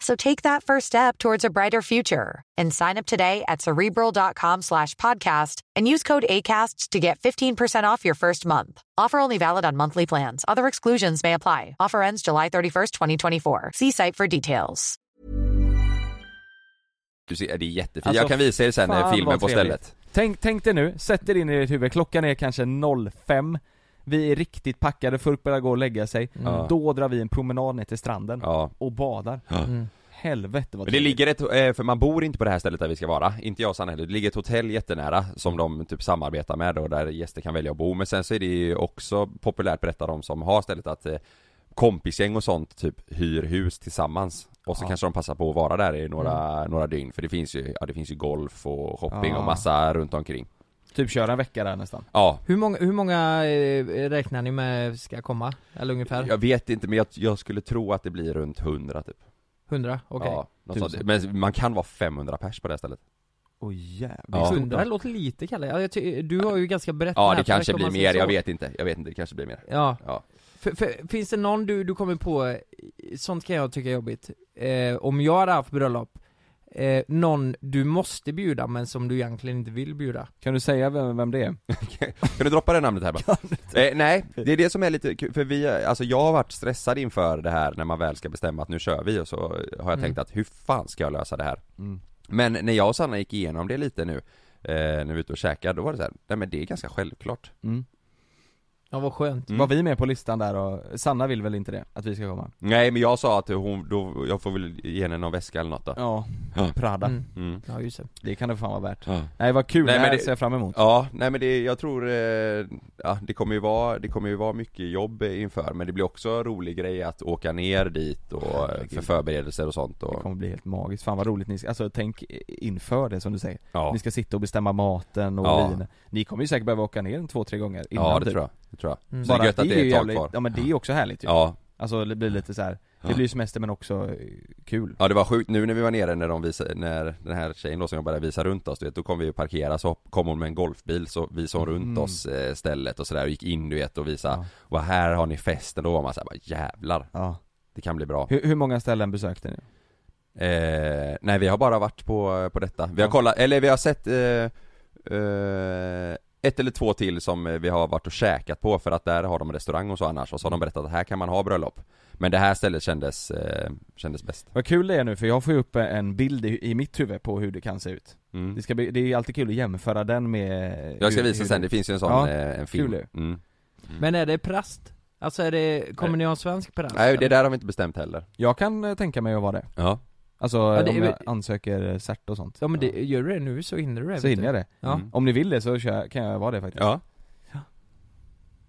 So take that first step towards a brighter future and sign up today at cerebral.com slash podcast and use code ACAST to get 15% off your first month. Offer only valid on monthly plans. Other exclusions may apply. Offer ends July 31st, 2024. See site for details.
Du ser, det är jättefint.
Alltså,
jag kan visa er sen eh,
fan,
filmen
vad
på
trevligt.
stället.
Tänk, tänk dig nu, sätt er in i ert huvud, klockan är kanske 05 Vi är riktigt packade, folk börjar gå och lägga sig
Ja.
Då drar vi en promenad ner till stranden
Mm. Ja.
och badar
Mm.
Helvete vad
Men det
trevligt.
ligger ett, eh, för man bor inte på det här stället där vi ska vara, inte jag och Sanna heller, det ligger ett hotell jättenära som de typ samarbetar med och där gäster kan välja att bo, men sen så är det ju också populärt berättar de som har stället att eh, kompisgäng och sånt typ hyr hus tillsammans och så
Ja. Mm.
kanske de passar på att vara där i några, några dygn för det finns ju, ja det finns ju golf och shopping
Ja.
och massa runt omkring
Typ köra en vecka där nästan
Ja,
Hur många, hur många eh, räknar ni med ska komma? Eller ungefär?
jag vet inte men jag, jag skulle tro att det blir runt 100 typ
100? Okej
ja, något
Tusen.
sånt. Men man kan vara 500 pers på det här stället
Åh jävlar
Ja.
100 låter lite Kalle, ja, jag ty- du har ju ganska brett
Ja det
nätverk,
kanske
om
blir
man
mer,
säger
jag
så.
vet inte, jag vet inte, det kanske blir mer
Ja,
Ja,
för, för, finns det någon du, du kommer på, eh, sånt kan jag tycka är jobbigt, eh, om jag hade haft bröllop, eh, någon du måste bjuda men som du egentligen inte vill bjuda.
Kan du säga vem, vem det är?
Kan du droppa det namnet här bara? Eh, nej, det är det som är lite kul, för vi, alltså jag har varit stressad inför det här när man väl ska bestämma att nu kör vi och så har jag
Mm.
tänkt att hur fan ska jag lösa det här? Men när jag och Sanna gick igenom det lite nu, eh, när vi var ute och käkade, då var det så här, nej men det är ganska självklart
Ja vad skönt.
Mm.
Mm. Var vi med på listan där och Sanna vill väl inte det? Att vi ska komma?
Nej men jag sa att hon, då, jag får väl ge henne någon väska eller något då
Ja,
Ja.
Prada.
Mm.
mm.
Ja just det.
Det kan det fan vara värt.
ja.
Nej vad kul,
Nej,
det
men
här
det-
ser jag fram emot.
Ja, nej men det, jag tror, eh, ja, det kommer ju vara, det kommer ju vara mycket jobb inför men det blir också en rolig grej att åka ner dit och eh, för förberedelser och sånt
Det
och,
kommer bli helt magiskt, fan vad roligt ni ska, alltså tänk inför det som du säger.
ja,
Ni ska sitta och bestämma maten och
Ja.
vin. Ni kommer ju säkert behöva åka ner en två, tre gånger innan
ja det
typ.
tror jag, det tror jag.
Mm.
Så det är
Bara
gött att det är
ju
ett tag
jävligt-
kvar
Ja men det är ju också härligt ju.
Ja,
Alltså det blir lite så här. det
Ja.
blir ju semester men också eh, kul.
ja det var sjukt nu när vi var nere när de visade, när den här tjejen då som jobbade där visade runt oss du vet, då kom vi och parkera så hopp- kom hon med en golfbil så visade hon runt
Mm.
oss eh, stället och sådär och gick in du vet och visade,
Ja.
och här har ni festen, då var man såhär bara jävlar,
Ja.
det kan bli bra
Hur, hur många ställen besökte ni?
Eh, nej vi har bara varit på, på detta. Vi har
Ja.
kollat, eller vi har sett eh, eh, ett eller två till som eh, vi har varit och käkat på för att där har de restaurang och så annars och så har de berättat att här kan man ha bröllop. Men det här stället kändes, eh, kändes bäst.
Vad kul det är nu för jag får ju upp en bild i, i mitt huvud på hur det kan se ut.
Mm.
Det, ska bli, det är ju alltid kul att jämföra den med...
Jag ska
hur-
visa
hur
sen, det finns ju en sån
Ja,
eh, en film.
kul ju.
Mm.
Men är det präst? Alltså är det, kommer ni ha en svensk präst?
Nej det
eller?
där har vi inte bestämt heller.
Jag kan eh, tänka mig att vara det.
Ja.
Alltså
det
om
är-
jag ansöker eh, cert och sånt.
Ja men det, gör du det nu så hinner du det.
Så
vet
hinner jag
du.
det.
Ja.
Mm.
Om ni vill det så kör, kan jag vara det faktiskt.
Ja.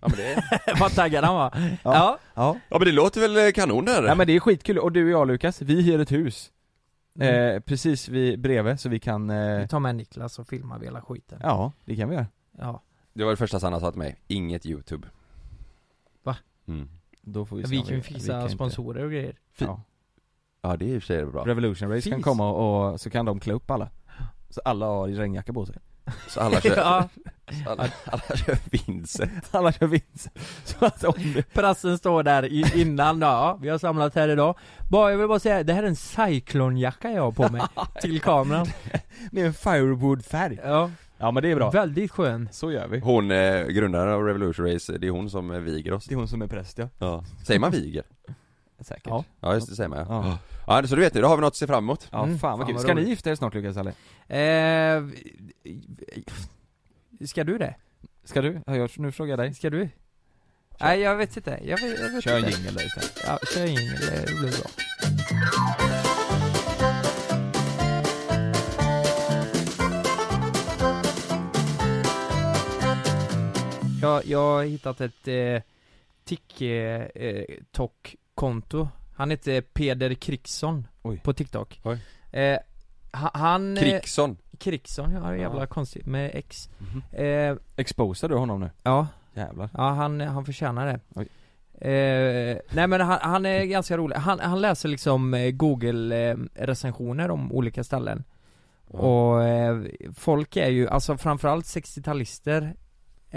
Ja men, det,
Vad taggad han var. Ja.
Ja.
ja men det låter väl eh, kanon där?
Nej men det är skitkul. Och du och jag Lukas, vi hyr ett hus.
Mm.
Eh, precis vid, bredvid så vi kan...
Vi
Eh,
tar med Niklas och filmar vi hela skiten.
ja, det kan vi göra.
Ja.
Det var det första Sanna sa till mig, inget youtube.
Va?
Mm.
Då får vi
Vi,
se om
kan ju
vi
fixa
inte-
sponsorer och grejer.
Ja.
Ja det är i och för sig bra.
Revolution Race kan
Fis.
komma och, och så kan de klä upp alla. Så alla har regnjacka på sig.
Så alla kör,
ja,
alla, alla kör Vincent.
Alla kör vinst. Så att om det...
prassen står där i, innan då. Ja, vi har samlat här idag. Bara, jag vill bara säga, det här är en cyklonjacka jag har på mig. till kameran.
Med en firewood-färg.
Ja.
Ja men det är bra.
Väldigt skön.
Så gör vi.
Hon, eh, grundaren av Revolution Race, det är hon som eh, viger oss
Det är hon som är präst ja.
ja. Säger man viger?
Säkert.
Ja.
Ja,
Ja just det, säger man ja
ja.
Ja så du vet det, då har vi något att se fram emot
Mm,
fan vad kul.
vad
Ska ni
roligt.
gifta er snart Lukas eller?
Eh, ska du det?
Ska du? Har jag, nu frågar jag dig.
Ska du? Nej jag vet inte, jag vet, jag vet
Kör en
inte.
jingel där istället.
Ja, kör en jingel, det blir bra. Jag, jag har hittat ett eh, TikTok-konto. Han heter Peder Kriksson
Oj.
på TikTok.
Oj.
Eh, ha- han... eh,
Kriksson
Kriksson, ja, det är jävla
Ja.
konstigt med X.
Mhm.
Eh,
Exposar du honom nu?
ja,
Jävlar.
Ja, han, han förtjänar det.
Oj.
Eh, nej men han, han är ganska rolig. Han, han läser liksom eh, google-recensioner om olika ställen.
Ja.
Och eh, folk är ju, alltså framförallt 60-talister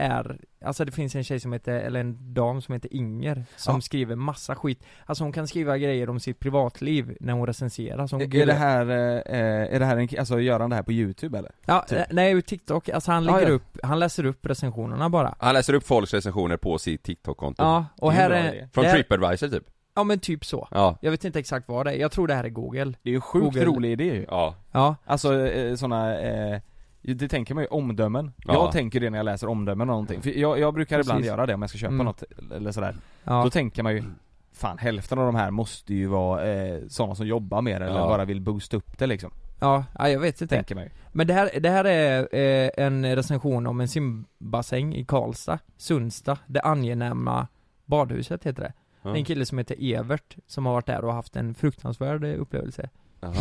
är, alltså det finns en tjej som heter, eller en dam som heter Inger som
Ja.
skriver massa skit. Alltså hon kan skriva grejer om sitt privatliv när hon recenserar. Så hon
Är, är
gillar-
det här, eh, eh, är det här en, alltså gör han det här på youtube eller?
Ja,
typ?
eh, nej ur TikTok, alltså han
Ja,
lägger
ja.
upp, han läser upp recensionerna bara.
Han läser upp folks recensioner på sitt TikTok-konto
Ja, och
Det är
här
en bra
är,
idé.
Från
det här,
Tripadvisor typ
ja men typ så.
Ja,
Jag vet inte exakt vad det är, jag tror det här är Google
Det är ju en sjukt
Google.
rolig idé ju.
ja,
Ja,
Alltså eh, såna, eh, det tänker man ju, omdömen.
Ja.
Jag tänker det när jag läser omdömen eller någonting. För jag, jag brukar ibland
Precis.
göra det om jag ska köpa
Mm.
något eller sådär. Då
ja,
tänker man ju, fan hälften av de här måste ju vara eh, sådana som jobbar med det eller
Ja.
bara vill boosta upp det liksom.
ja, ja jag vet inte
Tänker man ju.
Men det här, det här är eh, en recension om en simbassäng i Karlstad, Sundsta, det angenäma badhuset heter det Det är en kille som heter Evert som har varit där och haft en fruktansvärd eh, upplevelse
Jaha.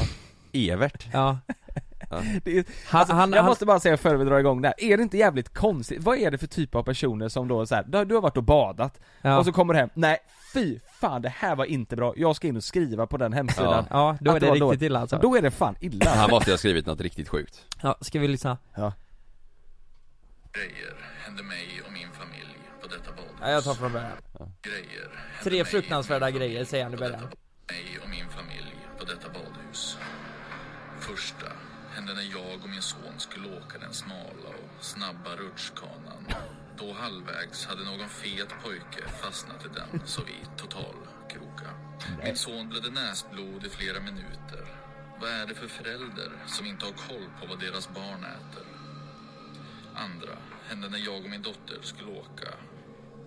Evert
Ja,
Det är,
han,
alltså,
han,
jag
han
måste bara säga före vi drar igång det här, är det inte jävligt konstigt? Vad är det för typ av personer som då så här, du, har- du har varit och badat,
ja,
och så kommer du hem, nej fy fan det här var inte bra, jag ska in och skriva på den hemsidan.
ja, då
att
är
det
det
var
riktigt
dåligt.
illa alltså
Då är det fan illa
Han måste ju ha skrivit något riktigt sjukt
Ja, ska vi lyssna?
Grejer hände mig och min familj på detta badhus.
Ja, jag tar från början
Grejer hände
Tre
mig
fruktansvärda grejer säger han i början
mig och min familj på detta badhus.
första hände när jag och min son skulle åka den smala och snabba rutschkanan. Då halvvägs hade någon fet pojke fastnat i den så vi totalkroka. Min son blödde näsblod i flera minuter. Vad är det för förälder som inte har koll på vad deras barn äter? Andra hände när jag och min dotter skulle åka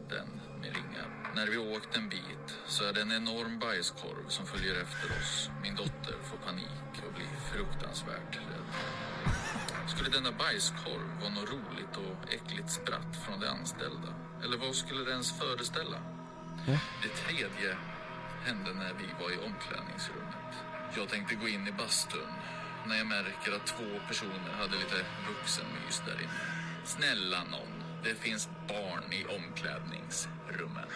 den med ringar. När vi åkt en bit så är det en enorm bajskorv som följer efter oss. Min dotter får panik och blir fruktansvärt rädd. Skulle denna bajskorv vara något roligt och äckligt spratt från de anställda? Eller vad skulle det ens föreställa? Det tredje hände när vi var i omklädningsrummet. Jag tänkte gå in i bastun när jag märker att två personer hade lite vuxenmys där inne. Snälla någon, det finns barn i omklädningsrummen.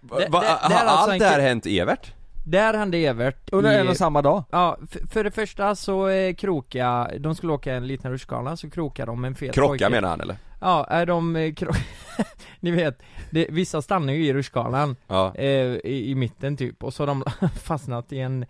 Va,
Det-
va,
det- det här
har
är alltså
allt
en
det här
kille-
hänt Evert?
Där hände Evert
Under
i-
en och samma dag?
Ja, f- för det första så eh, kroka, de skulle åka en liten rutschkana så krokade de en fet
Krocka
pojke.
menar han eller?
Ja, är de eh, kro... Ni vet, det, vissa stannar ju i rutschkanan
Ja,
eh, i, i mitten typ och så har de fastnat i en,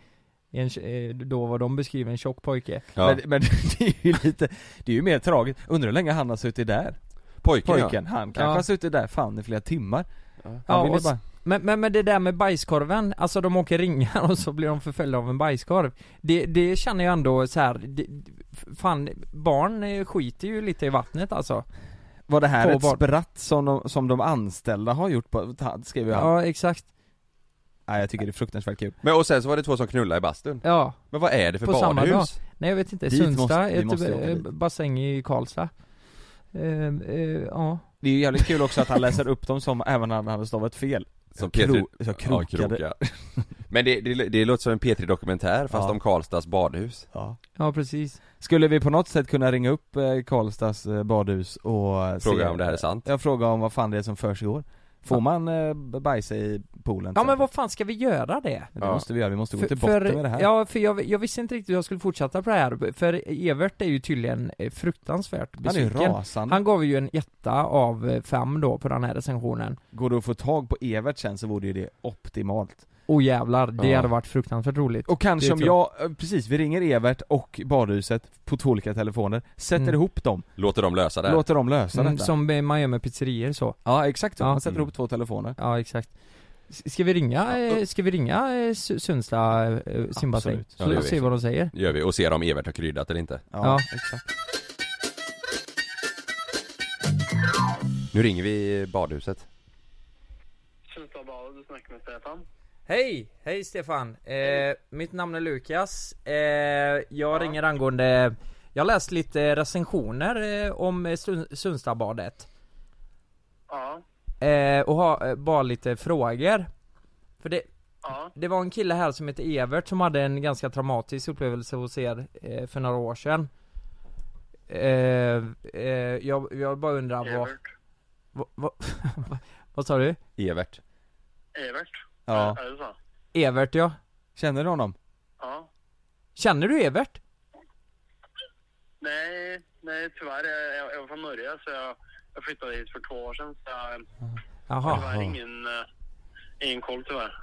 i en eh, då vad de beskriver, en tjock pojke.
ja.
Men, men det är ju lite, det är ju mer tragiskt. Undrar hur länge han har suttit där?
Pojken, ja.
Pojken, han kanske
Ja.
har suttit där fan i flera timmar. Han
Ja,
ville
och s-
bara...
Men, men, men det där med bajskorven, alltså de åker ringar och så blir de förföljda av en bajskorv Det, det känner jag ändå så här. Det, fan, barn eh, skiter ju lite i vattnet alltså
Var det här
Två
ett
barn.
spratt som de, som de anställda har gjort på, ta- skriver
Ja,
han. Ja.
exakt,
Nej jag tycker det är fruktansvärt kul.
Men och sen så var det två som knullade i bastun
ja
Men vad är det för
På samma
badhus?
Nej jag vet inte,
Dit
Sundsta,
måste- vi
ett
måste åka
eh,
dit.
bassäng i Karlstad Ehm, eh, Ja,
Det är ju jävligt kul också att han läser upp dem som även när han hade stavat fel.
Som
Kro, så
Ja,
krokade. Ja,
kroka. Men det, det, det låter som en P3 dokumentär fast
Ja.
om Karlstads badhus
ja precis
Skulle vi på något sätt kunna ringa upp eh, Karlstads eh, badhus och eh,
Fråga
se-
om det här är sant
Jag frågar om vad fan det är som försiggår. Får
Ja.
man eh, bajsa i poolen?
Ja
till
men vad
exempel?
fan ska vi göra det?
Det
Ja.
måste vi göra, vi måste gå
För-
till
för,
botten med det här.
Ja, för jag, jag visste inte riktigt hur jag skulle fortsätta på det här, för Evert är ju tydligen eh, fruktansvärt
han är ju
besviken
rasande.
Han gav ju en etta av eh, fem då på den här recensionen.
Går du att få tag på Evert sen så vore ju det optimalt.
Oh jävlar, det
Ja.
hade varit fruktansvärt roligt.
Och kanske
Det
om
tror jag.
jag, eh, precis, vi ringer Evert och badhuset på två olika telefoner, sätter
Mm.
ihop dem,
Låter dem lösa det här.
låter dem lösa
Mm,
detta.
som eh, man gör med pizzerior så.
Ja exakt så,
Ja.
man sätter
Mm.
ihop två telefoner.
Ja, exakt. S- Ska vi ringa, eh, ska vi ringa eh, Su- Sundsta eh, simbassäng?
Absolut.
Så
Ja, det gör vi.
se vad de säger.
gör vi och ser om Evert har kryddat eller inte
Ja.
exakt.
Nu ringer vi badhuset
Sluta bara, du snackar med Stefan.
Hej! Hej Stefan! Eh, mitt namn är Lukas. Eh, jag ringer angående... Jag läste lite recensioner eh, om eh, Sun- Sundstabadet.
Ja,
Eh, och har eh, bara lite frågor. För det,
ja,
Det var en kille här som heter Evert som hade en ganska traumatisk upplevelse hos er eh, för några år sedan. Eh, eh, jag, jag bara undrar vad...
Evert.
Vad, vad, vad sa du?
Evert
Evert.
Ja.
Är det så?
Evert ja.
Känner du honom?
Ja.
Känner du Evert?
Nej, nej tyvärr. Jag, jag, jag var från Norge så jag, jag flyttade hit för två år sedan. Så jag
Jaha.
tyvärr ingen, eh, ingen koll tyvärr.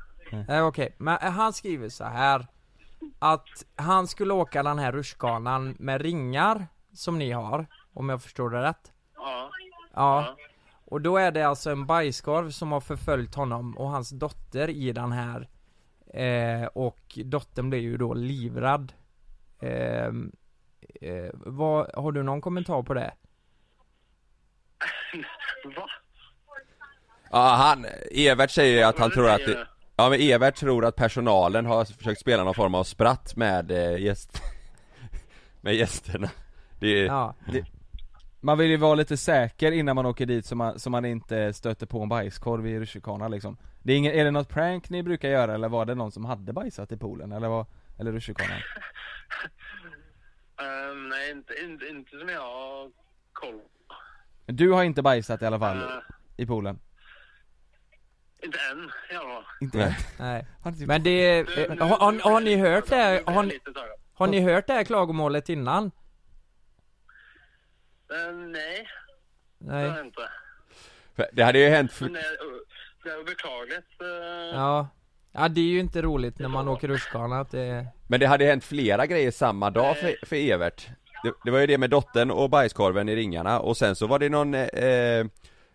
Eh, Okej, men eh, han skriver så här Att han skulle åka den här rutschkanan med ringar som ni har, om jag förstår det rätt.
Ja,
Ja. Och då är det alltså en bajskorv som har förföljt honom och hans dotter i den här eh, Och dottern blir ju då livrad Ehm, eh, vad, Har du någon kommentar på det?
va?
Ja han, Evert säger att han
Vad
tror att
säger du?
Ja men Evert tror att personalen har försökt spela någon form av spratt med eh, gäst Med gästerna Det är,
Ja,
Man vill ju vara lite säker innan man åker dit så man, så man inte stöter på en bajskorv i rutschkana liksom. Det är, ingen, är det något prank ni brukar göra eller var det någon som hade bajsat i poolen eller vad, eller rutschkanan?
Eh, nej, inte, inte, inte som jag har koll på.
Du har inte bajsat i alla fall
Eh,
i poolen?
Inte än i alla fall.
Inte?
Nej.
nej.
Har inte-
Men det, eh,
Nu- nu-
har, har,
nu
har
blir
ni
jag
hört
lite
det här? Har,
taggad. Nu blir jag
ni-
lite taggad.
har ni hört det här klagomålet innan?
Eh, nej, det har
Nej.
jag inte.
För Det hade ju hänt för,
Men det, är- det är ju beklagligt. eh,
Ja. Ja det är ju inte roligt när man åker rutschkana att det...
Men det hade hänt flera grejer samma dag för, för Evert det, det var ju det med dottern och bajskorven i ringarna och sen så var det någon eh,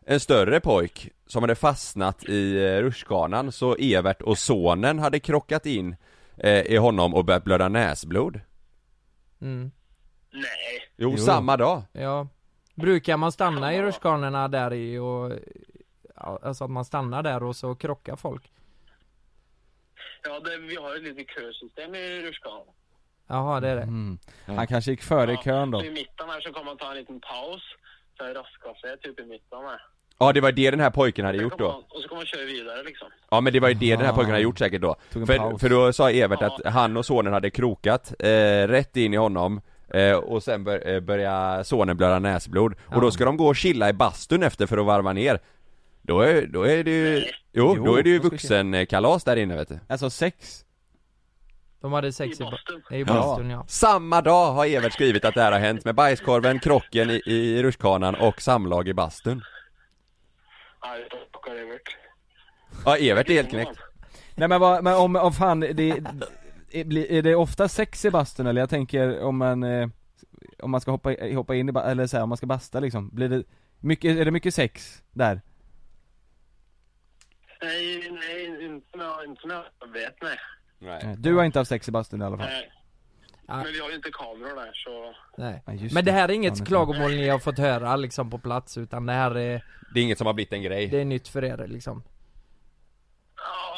En större pojk som hade fastnat i eh, rutschkanan så Evert och sonen hade krockat in eh, i honom och börjat blöda näsblod
Mm,
Nej.
Jo, samma dag
ja. Brukar man stanna i rutschkanorna där i och... ja, Alltså att man stannar där och så krockar folk?
Ja, det, vi har ju ett litet kösystem i rutschkanan.
Jaha det är det.
Han kanske gick före i kön då
Så I mitten här så kommer man ta en liten paus. Så här raskar sig typ i mitten här.
Ja det var det den här pojken hade
Sen
gjort
kommer
då
man- Och så kommer man köra vidare liksom.
Ja men det var ju det den här pojken hade gjort säkert då
Ah. Tog en
för,
paus.
för då sa Evert att han och sonen hade krokat eh, rätt in i honom eh, Och sen bör, eh, började sonen blöda näsblod Och då ska de gå och chilla i bastun efter för att varva ner Då är, då är det ju, jo,
Jo,
då är det ju
då ska vi se.
vuxenkalas där inne vet du
Alltså sex?
De hade sex
I
i, ba-
bastun.
i bastun ja.
Samma dag har Evert skrivit att det här har hänt med bajskorven, krocken i, i rutschkanan och samlag i bastun
Ja, jag plockar Evert.
Ja Evert är helt knäckt
Nej men, vad, men om, om fan, det, är- blir- är det ofta sex i bastun eller? Jag tänker om man, eh, om man ska hoppa, i- hoppa in i ba- eller så här, om man ska basta liksom, blir det mycket, är det mycket sex där?
Nej, nej, inte som jag, inte som jag vet, nej.
Eh,
Du har inte haft sex i bastun i alla fall?
nej.
Ah.
Men vi har ju inte kameror där så...
Nej.
Ja, just
Men det här är
Ja,
inget
men-
klagomål ni har fått höra liksom på plats utan det här är,
Det är inget som har blivit en grej
det är nytt för er liksom.
Ja,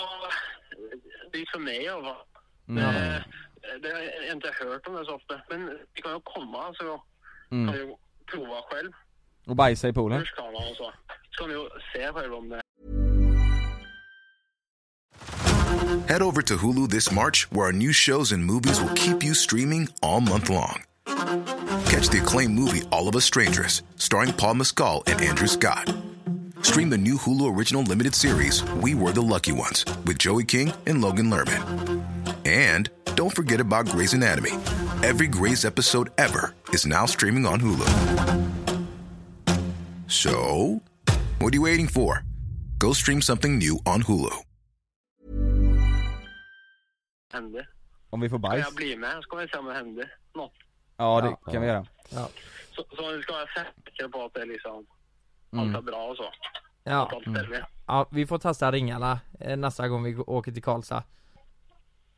det är för mig i alla fall.
Mm.
Eh, Det har jag inte hört om det så ofta. Men det kan ju komma så jag
Mm.
kan ju prova själv.
Och bajsa i poolen?
Rutschkana och så. Så kan ni ju se själv om det
Head over to Hulu this March, where our new shows and movies will keep you streaming all month long. Catch the acclaimed movie All of Us Strangers, starring Paul Mescal and Andrew Scott. Stream the new Hulu original limited series We Were the Lucky Ones with Joey King and Logan Lerman. And don't forget about Grey's Anatomy. Every Grey's episode ever is now streaming on Hulu. So, what are you waiting for? Go stream something new on Hulu.
händer.
Om vi får
Kan
bajs?
jag bli med så kan vi se om det händer något.
Ja det kan vi göra
Så, så ni ska vara säkra på att det är liksom
Mm.
allt är bra och så. Att
Ja,
allt stämmer.
ja vi får testa ringarna eh, nästa gång vi gå- åker till Karlstad.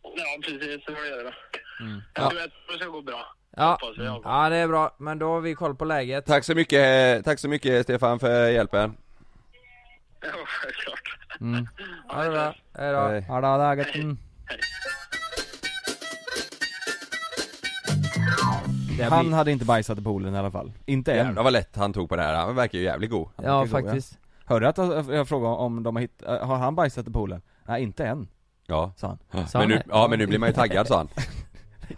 Ja, precis. Så får du göra det.
Ja.
Jag tror att det ska gå bra.
Ja,
Hoppas jag.
ja det är bra, men då har vi koll på läget.
Tack så mycket, eh, tack så mycket Stefan för hjälpen
Ja, självklart.
Ha det bra, hejdå.
Hej.
Ja, det har dagat. Mm.
Det här
Han
blir-
hade inte bajsat i poolen i alla fall, inte än
Jävlar vad lätt han tog på eh, det här, han verkar ju jävligt god
Ja
mycket god,
faktiskt.
Hörde att jag jag frågade om de har hittat, har han bajsat i poolen? Nej inte än,
Ja,
sa han
Sa
men
han
nu,
det?
ja men nu blir man ju taggad sa han
Sa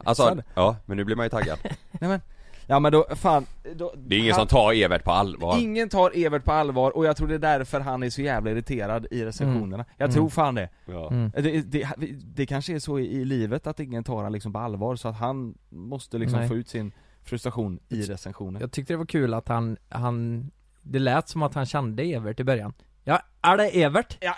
Alltså,
han?
ja men nu blir man ju taggad
Nej men, ja men då, fan då,
Det är ingen
han,
som tar Evert på allvar
Ingen tar Evert på allvar och jag tror det är därför han är så jävla irriterad i recensionerna Jag
Mm.
tror fan det.
ja.
Det, det, det kanske är så i, i livet att ingen tar han liksom på allvar så att han måste liksom
Nej.
få ut sin frustration i recensionen
Jag tyckte det var kul att han, han, det lät som att han kände Evert i början. Ja, är det Evert?
ja,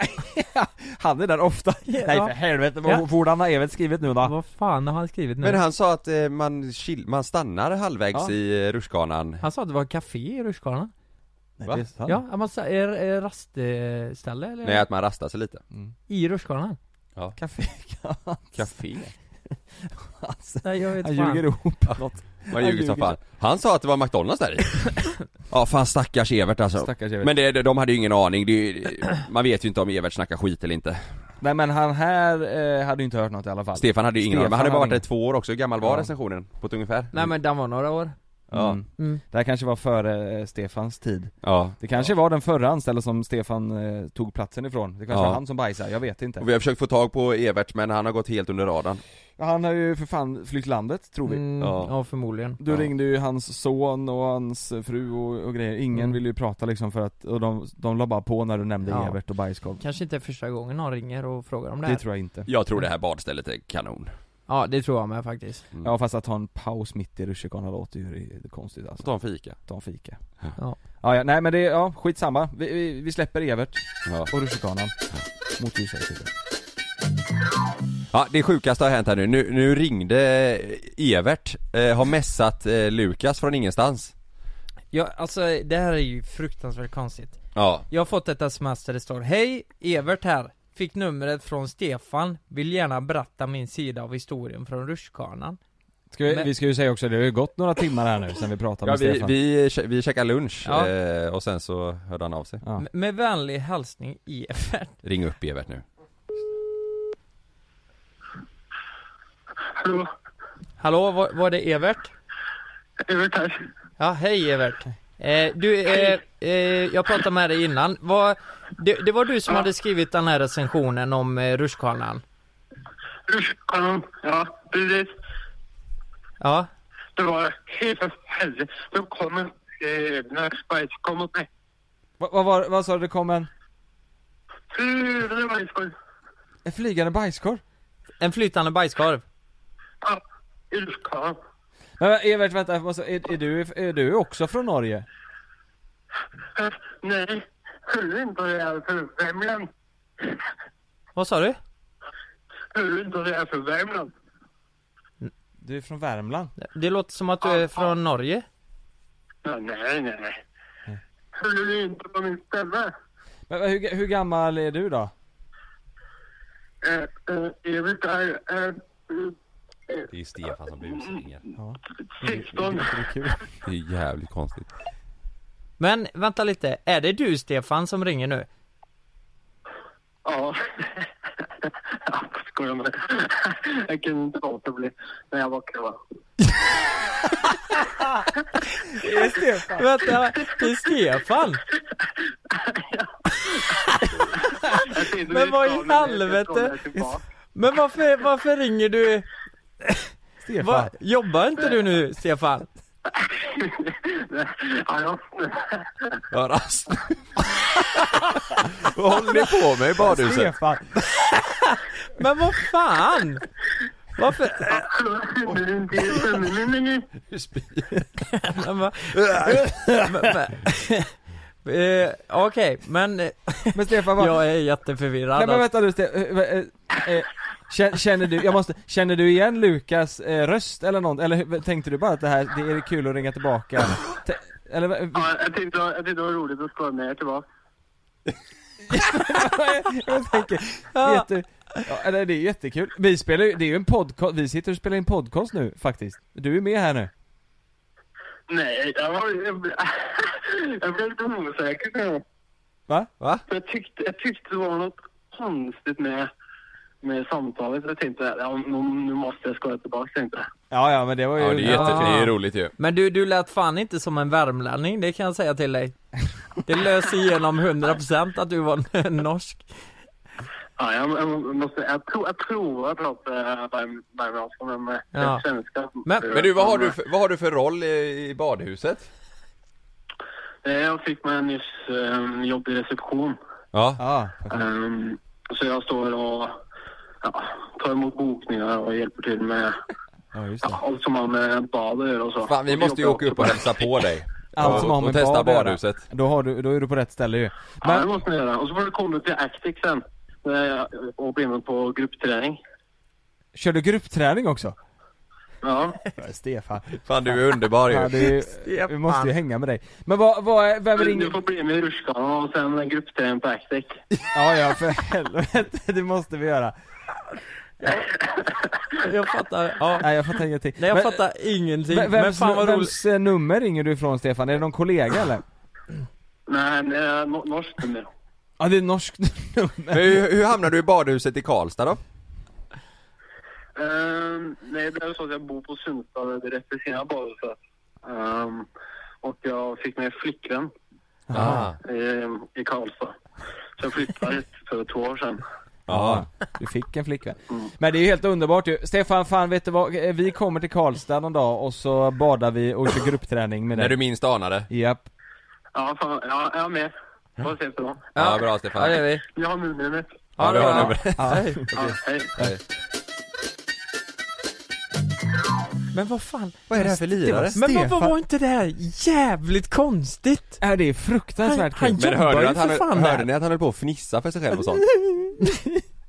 Han är där ofta, nej för helvete, vad
Ja.
borde han ha Evert skrivit nu då?
Vad fan har han skrivit nu?
Men
han...
han sa att eh, man, chill, man stannar halvvägs
Ja. Mm.
i eh, rutschkanan
sa att det var café i rutschkanan.
Nej,
Va?
det är sant.
Ja, man sa, är, är rastställe eller?
Nej att man rastar sig lite
Mm.
I rutschkanan?
Café,
Café?
Nej jag vet
han
fan.
ljuger ihop något
Man ljuger som
ljuger.
fan Han sa att det var McDonalds där i Ja fan stackars Evert alltså
Stackars Evert.
Men det, det- de hade ju ingen aning, det, är ju- man vet ju inte om Evert snackar skit eller inte
Nej men han här eh, hade ju inte hört något i alla fall
Stefan hade ju ingen aning,
Stefan
men han hade bara varit
hade
där i två år också, hur gammal var
Ja.
recensionen? På ett ungefär?
Nej men den var några år.
Ja,
Mm.
Mm.
Det här kanske var före eh, Stefans tid
ja.
Det kanske var den förra anställda som Stefan eh, tog platsen ifrån. Det kanske
Ja.
var han som bajsade, jag vet inte.
Och vi har försökt få tag på Evert men han har gått helt under radarn
Han har ju för fan flytt landet, tror vi.
Mm,
Ja.
ja. förmodligen.
Du
Ja.
ringde ju hans son och hans fru och, och grejer. Ingen
Mm.
ville ju prata liksom för att, och de, de la bara på när du nämnde
Ja.
Evert och bajskorv.
Kanske inte är första gången någon ringer och frågar om det,
Det
här.
tror jag inte.
Jag tror det här badstället är kanon
Ja det tror jag med faktiskt.
Ja fast att ta en paus mitt i rutschkanan låter ju ri- konstigt alltså.
Ta en fika
Ta en fika.
Ja.
Ja, ja nej men det, ja skitsamma. Vi, vi, vi släpper Evert
ja.
och rutschkanan. Mot ljuset.
Ja, det sjukaste har hänt här nu. Nu, nu ringde Evert, eh, har messat eh, Lukas från ingenstans.
Ja, alltså det här är ju fruktansvärt konstigt
Ja.
Jag har fått ett sms där det står Hej, Evert här Fick numret från Stefan Vill gärna berätta min sida av historien från rutschkanan
Ska vi,
Men-
vi ska ju säga också, det har ju gått några timmar här nu sen vi pratade
Ja,
med
vi,
Stefan
vi, che- vi käkade lunch
Ja.
eh, och sen så hörde han av sig.
Ja.
M- Med vänlig hälsning Evert
Ring upp Evert nu.
Hallå,
Hallå, var, var det Evert?
Evert här.
Ja, hej Evert eh, Du, eh, eh, jag pratade med dig innan var, det, det var du som hade skrivit den här recensionen om eh, rutschkanan
Rutschkanan, ja precis.
Ja,
Det var helt förfärligt. Då kom en jävla spice kom mot mig.
Vad vad var, vad sa du, det kom en,
Fy, det var en skoj.
en flygande bajskorv?
en flytande bajskorv
Ja, rutschkanan.
Men men, Evert vänta, jag måste- är, är, du, är du också från Norge?
Eh, Nej, hörde inte vad det är för Värmland.
Vad sa du?
Hörde inte vad det är för Värmland.
Du är från Värmland?
Det låter som att du är från Norge
Ja, nej, nej, nej. Hörde du inte på min ställe?
Men men, hur, hur gammal är du då?
Eh, eh, Evert är eh,
Det är ju Stefan som blir ursängad.
16.
Det är ju jävligt konstigt.
Men vänta lite, är det du Stefan som ringer nu?
Ja. Ja, jag skojar med dig. Jag kunde inte låta bli när jag var kvar.
Vänta, det är Stefan!
Jag tänkte,
Men
vi
vad i
ska nu, vi ska
helvete?
tillbaka.
Men varför, varför ringer du?
Stefan?
Va, jobbar inte du nu Stefan?
Ja, jag
Vad rast. Vad håller ni på med i badhuset?
Stefan?
Men vad fan! Varför?
snurrar inte i sömnen men nu.
Men va- men- men- Eh, Okej, men eh,
Men Stefan vad,
jag är jätteförvirrad
nej men
alltså.
vänta nu eh, Stefan, känner du, jag måste, känner du igen Lukas eh, röst eller något? Eller hur- tänkte du bara att det här, det är kul att ringa tillbaka? Tä- Eller vad-
Ja, jag tyckte det var- jag tyckte det var roligt att skoja med er tillbaka.
jag tänker, vet du, ja, eller det är jättekul. Vi spelar ju, det är ju en podcast, vi sitter och spelar in podcast nu faktiskt. Du är med här nu.
Nej, jag var... Jag, blev- jag blev lite osäker kan jag.
Va?
Va?
För Jag tyckte, jag tyckte det var något konstigt med, med samtalet. Jag tänkte, ja, nu, nu måste jag skoja tillbaka tänkte jag.
Ja ja men det var ju...
Ja det är jättekul, det är roligt ju.
Men du, du lät fan inte som en värmlänning, det kan jag säga till dig Det löser igenom 100% att du var norsk
Ja, jag, jag, måste, jag, tror, jag provar att prata värmlandska, men eh,
Ja.
den svenska...
Men-
Men du, vad har du för, vad har du för roll i, i badhuset?
Eh, Jag fick mig nyss um, jobb i reception.
Ja.
Ja,
Ehm, så jag står och ja, tar emot bokningar och hjälper till med
ja just det.
ja, allt som har med bad att göra och så.
Fan vi
Och
måste ju
jobbar
åka upp
också
och hälsa på dig.
Allt som har
och,
med
och testa
bad att göra.
badhuset.
Då, har du, då är du på rätt ställe ju.
Ja, det
Men,
måste ni göra. Och så får du komma till Actic sen eh, och bli med på gruppträning.
kör du gruppträning också?
Ja.
Stefan.
Fan du är underbar ju.
Ja, det är ju, vi måste ju hänga med dig. Men vad, vad, är- vem
Du
ringer?
får bli med i rutschkanan och sen en gruppträning på Actic.
Ja ja, för helvete, det måste vi göra.
Jag fattar, ja
Nej jag fattar ingenting.
Nej jag
Men-
fattar ingenting,
Vem,
men
vems,
fan vad roligt
vems eh, nummer ringer du ifrån Stefan? Är det någon kollega eller?
Nej, nej, no- norskt nummer.
Ja det är norskt nummer.
Men hur, hur hamnade du i badhuset i Karlstad då?
Ehm, nej, det är ju så att jag bor på Sundstad direkt vid sidan av badhuset. Ehm, och jag fick mig flickvän
Ah, Ja.
ehm, i Karlstad. Så jag flyttade hit för två år sedan.
Ja.
Du fick en flickvän. Men det är ju helt underbart ju. Stefan, fan vet du vad? Eh, Vi kommer till Karlstad någon dag och så badar vi och kör gruppträning med
När du
dig.
minst anade.
Japp.
Ja, fan, ja jag är med. Får ses då.
Ja, bra Stefan. Ja, det är vi.
Jag har numret.
Ja, du har numret.
Ja, hej.
Men vad fan,
Vad är det här för lirare?
men
Stefan-
vad var inte det här jävligt konstigt?
Äh, det är fruktansvärt
Han-
kul.
han-
Men hörde
jobbar
ni
ju
att
för
han,
fan
hörde
där.
ni att han höll på att fnissa för sig själv och sånt?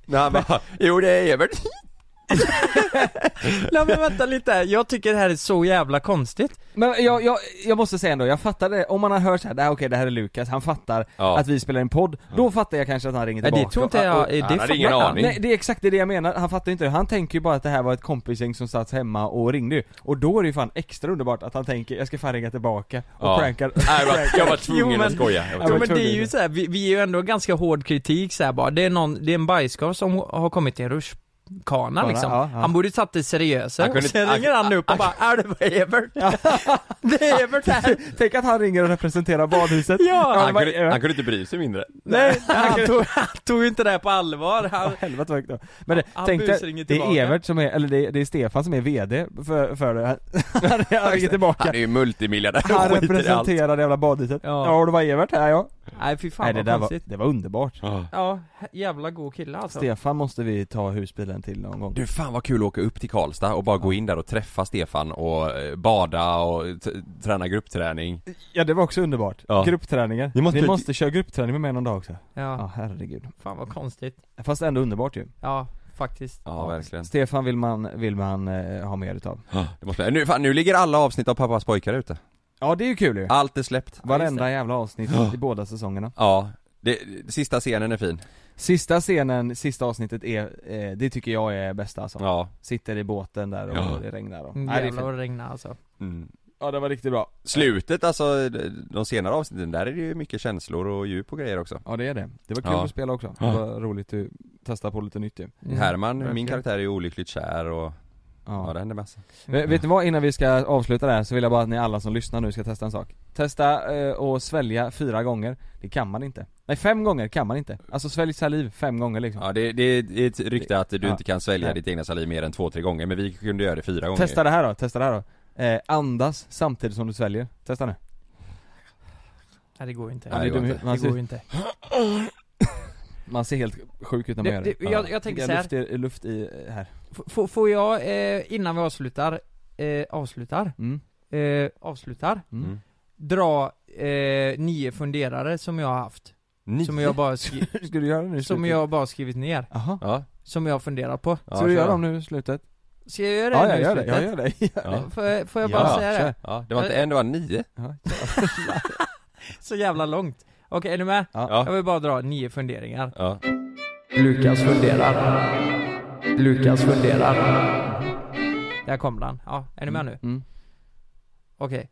Nej han bara, jo det är Evert.
Nej men vänta lite, här. jag tycker det här är så jävla konstigt
Men jag, jag, jag måste säga ändå, jag fattade, om man har hört såhär, okej det här är Lukas, han fattar
Ja.
att vi spelar en podd, då fattar jag kanske att han ringer
Nej,
tillbaka
det tror inte
och-
jag,
och-
det
Han hade
fan-
ingen aning.
Nej det är exakt det jag menar, han fattar ju inte det, han tänker ju bara att det här var ett kompisgäng som satt hemma och ringde ju. Och då är det ju fan extra underbart att han tänker, jag ska fan ringa tillbaka och
Ja.
prankar
Nej, jag var, jag var
Jo,
tvungen
men-
att skoja. Jag var
Ja,
Jo
tvungen.
men det är ju så här, vi, vi är ju ändå ganska hård kritik så här bara, det är någon, det är en bajskorv som har kommit i en rutschkana
Bara,
liksom.
ja, ja.
Han borde ju tagit det seriösare
Han
och
kunde-
sen
han-
ringer han upp och bara, är det var Evert? det är Evert här!
Tänk att han ringer och representerar badhuset
Ja!
Han
vad-
kunde, han kunde inte bry sig mindre.
Nej, han tog, han tog ju inte det här på allvar. Han,
Helvete vad högt då. Men det,
han
tänk
busringer
dig, det
tillbaka.
är Evert som är, eller det är, det är Stefan som är VD för, för det här. Han- Han ringer tillbaka.
Han är ju multimiljardär och
Han
skiter i allt.
representerar det jävla badhuset.
Ja.
Ja, och det var Evert här ja.
nej fy fan
Nej det
vad
där var,
konstigt.
det var underbart.
Ja.
Ja, jävla god kille alltså.
Stefan måste vi ta husbilen till någon gång.
Du fan vad kul att åka upp till Karlstad och bara gå in där och träffa Stefan och eh, bada och t- träna gruppträning
Ja det var också underbart.
Ja.
Gruppträningar.
Ni
Ni
måste-
måste... köra gruppträning med mig någon dag också. Ja
Ja,
herregud.
fan vad konstigt.
Fast ändå underbart ju.
Ja, faktiskt.
Ja verkligen
Stefan vill man, vill man eh, ha mer utav.
det måste, nu, fan, nu ligger alla avsnitt av Pappas pojkar ute
Ja det är ju kul ju.
Allt är släppt
Varenda jävla avsnitt i båda säsongerna.
Ja, det, sista scenen är fin
Sista scenen, sista avsnittet är, eh, det tycker jag är bästa alltså.
Ja
Sitter i båten där och
Ja.
det regnar och... Nej, det är
Jävlar vad
fint.
det regnar alltså.
mm.
Ja det var riktigt bra.
Slutet alltså, de senare avsnitten, där är det ju mycket känslor och djup och grejer också
Ja det är det. Det var kul
Ja.
att spela också. Det var roligt att testa på lite nytt ju.
Mm.
Herman, min
verkligen.
karaktär är ju olyckligt kär och, ja,
Ja.
det händer massa
Vet vet ni vad, innan vi ska avsluta det här så vill jag bara att ni alla som lyssnar nu ska testa en sak. Testa eh, och svälja fyra gånger. Det kan man inte. Nej fem gånger kan man inte. Alltså svälj saliv fem gånger liksom.
Ja det, det är ett rykte att du
Ja.
inte kan svälja
Nej.
ditt egna saliv mer än två, tre gånger, men vi kunde göra det fyra gånger
Testa det här då, testa det här då. Eh, andas samtidigt som du sväljer. Testa nu.
Nej det går ju inte.
Nej, det går
det,
inte.
går ju inte.
Man ser helt sjuk ut när man
Det-
gör det.
det- jag- jag tänker
Det är
så här.
Luft i, luft i eh, här.
F- får- får jag, eh, innan vi avslutar, eh, avslutar,
Mm.
eh, avslutar,
Mm.
Mm.
dra eh, nio funderare som jag har haft.
Nio?
Som jag bara, skri-
Ska du göra det nu i
som
slutet?
jag bara skrivit ner.
Aha.
Ja,
Som jag har funderat på.
ja
Ska du
kör
göra
då.
dem nu i slutet?
Ska jag göra det
Ja,
nu
jag
i
gör det, jag
slutet?
gör det. Ja.
Ja.
Får, får jag bara
Ja,
säga
kör.
det?
ja, det var inte en, det var nio
Så jävla långt. Okej, är ni med?
Ja.
Jag vill bara dra nio funderingar.
Ja.
Lukas funderar. Lukas funderar. Där kom den. Ja, är ni med nu?
Mm.
Okej.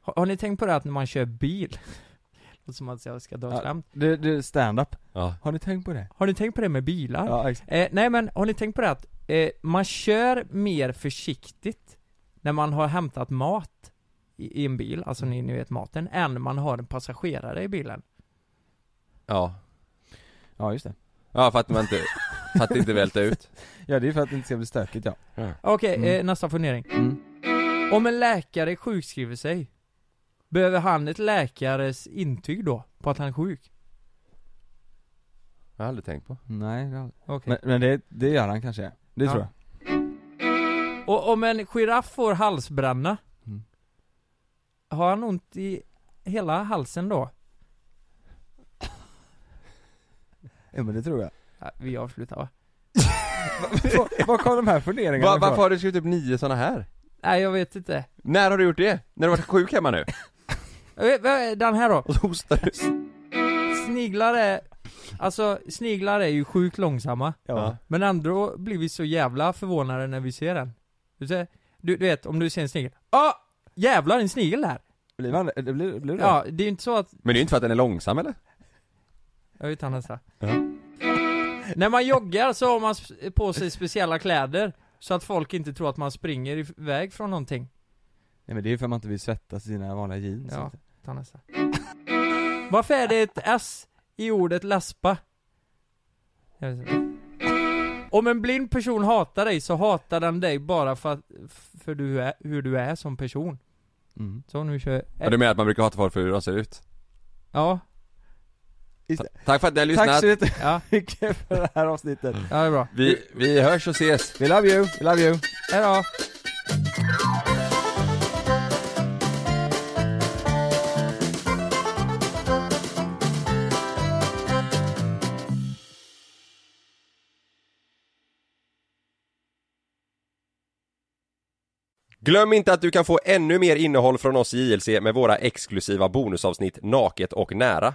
Har, har ni tänkt på det att när man kör bil? Låter som att jag ska dra ett
Ja.
skämt.
Du, du, stand-up.
Ja.
Har ni tänkt på det?
Har ni tänkt på det med bilar?
Ja, exakt.
Eh, nej men, har ni tänkt på det att eh, man kör mer försiktigt när man har hämtat mat i, i en bil, alltså ni, ni vet maten, än man har en passagerare i bilen?
ja
Ja, just det.
Ja för att man inte, för att inte välta ut
Ja, det är för att det inte ska bli stökigt ja.
Okej,
Mm.
eh, nästa fundering.
Mm.
Om en läkare sjukskriver sig, behöver han ett läkares intyg då, på att han är sjuk?
Jag har aldrig tänkt på
Nej, det har...
Okej.
men, men det, det gör han kanske. Det
Ja.
tror jag.
Och om en giraff får halsbränna,
Mm.
har han ont i hela halsen då?
Ja, men det tror jag.
Ja, vi avslutar va?
Var- Var kom de här funderingarna ifrån?
Varför har du skrivit upp nio sådana här?
Nej jag vet inte.
När har du gjort det? När du varit sjuk hemma nu?
Jag vet- vad är eh, Den här då?
Och så hostar du
Sniglar är, alltså sniglar är ju sjukt långsamma.
Ja.
Men ändå blir vi så jävla förvånade när vi ser den. Du, ser, du, du vet, om du ser en snigel. Ah! Jävlar en snigel där!
Blir man det? Blir, blir det?
Ja, det är ju inte så att,
Men det är ju inte för att den är långsam eller?
jag vet inte nästa.
Ja.
När man joggar så har man sp- på sig speciella kläder. Så att folk inte tror att man springer iväg från någonting.
Nej men det är ju för att man inte vill svettas i sina vanliga jeans.
Ja, ta nästa. Varför är det ett S i ordet läspa? Jag vet inte. Om en blind person hatar dig så hatar den dig bara för, att, för du är, hur du är som person.
Mm.
Så nu kör
Ja, du menar att man brukar hata folk för hur de ser ut?
Ja,
Tack för att ni har
Tack
lyssnat!
så
ja,
jättemycket för det här avsnittet.
ja det är bra.
Vi, vi hörs och ses!
We love you, we love you.
Hejdå!
Glöm inte att du kan få ännu mer innehåll från oss i JLC med våra exklusiva bonusavsnitt Naket och nära.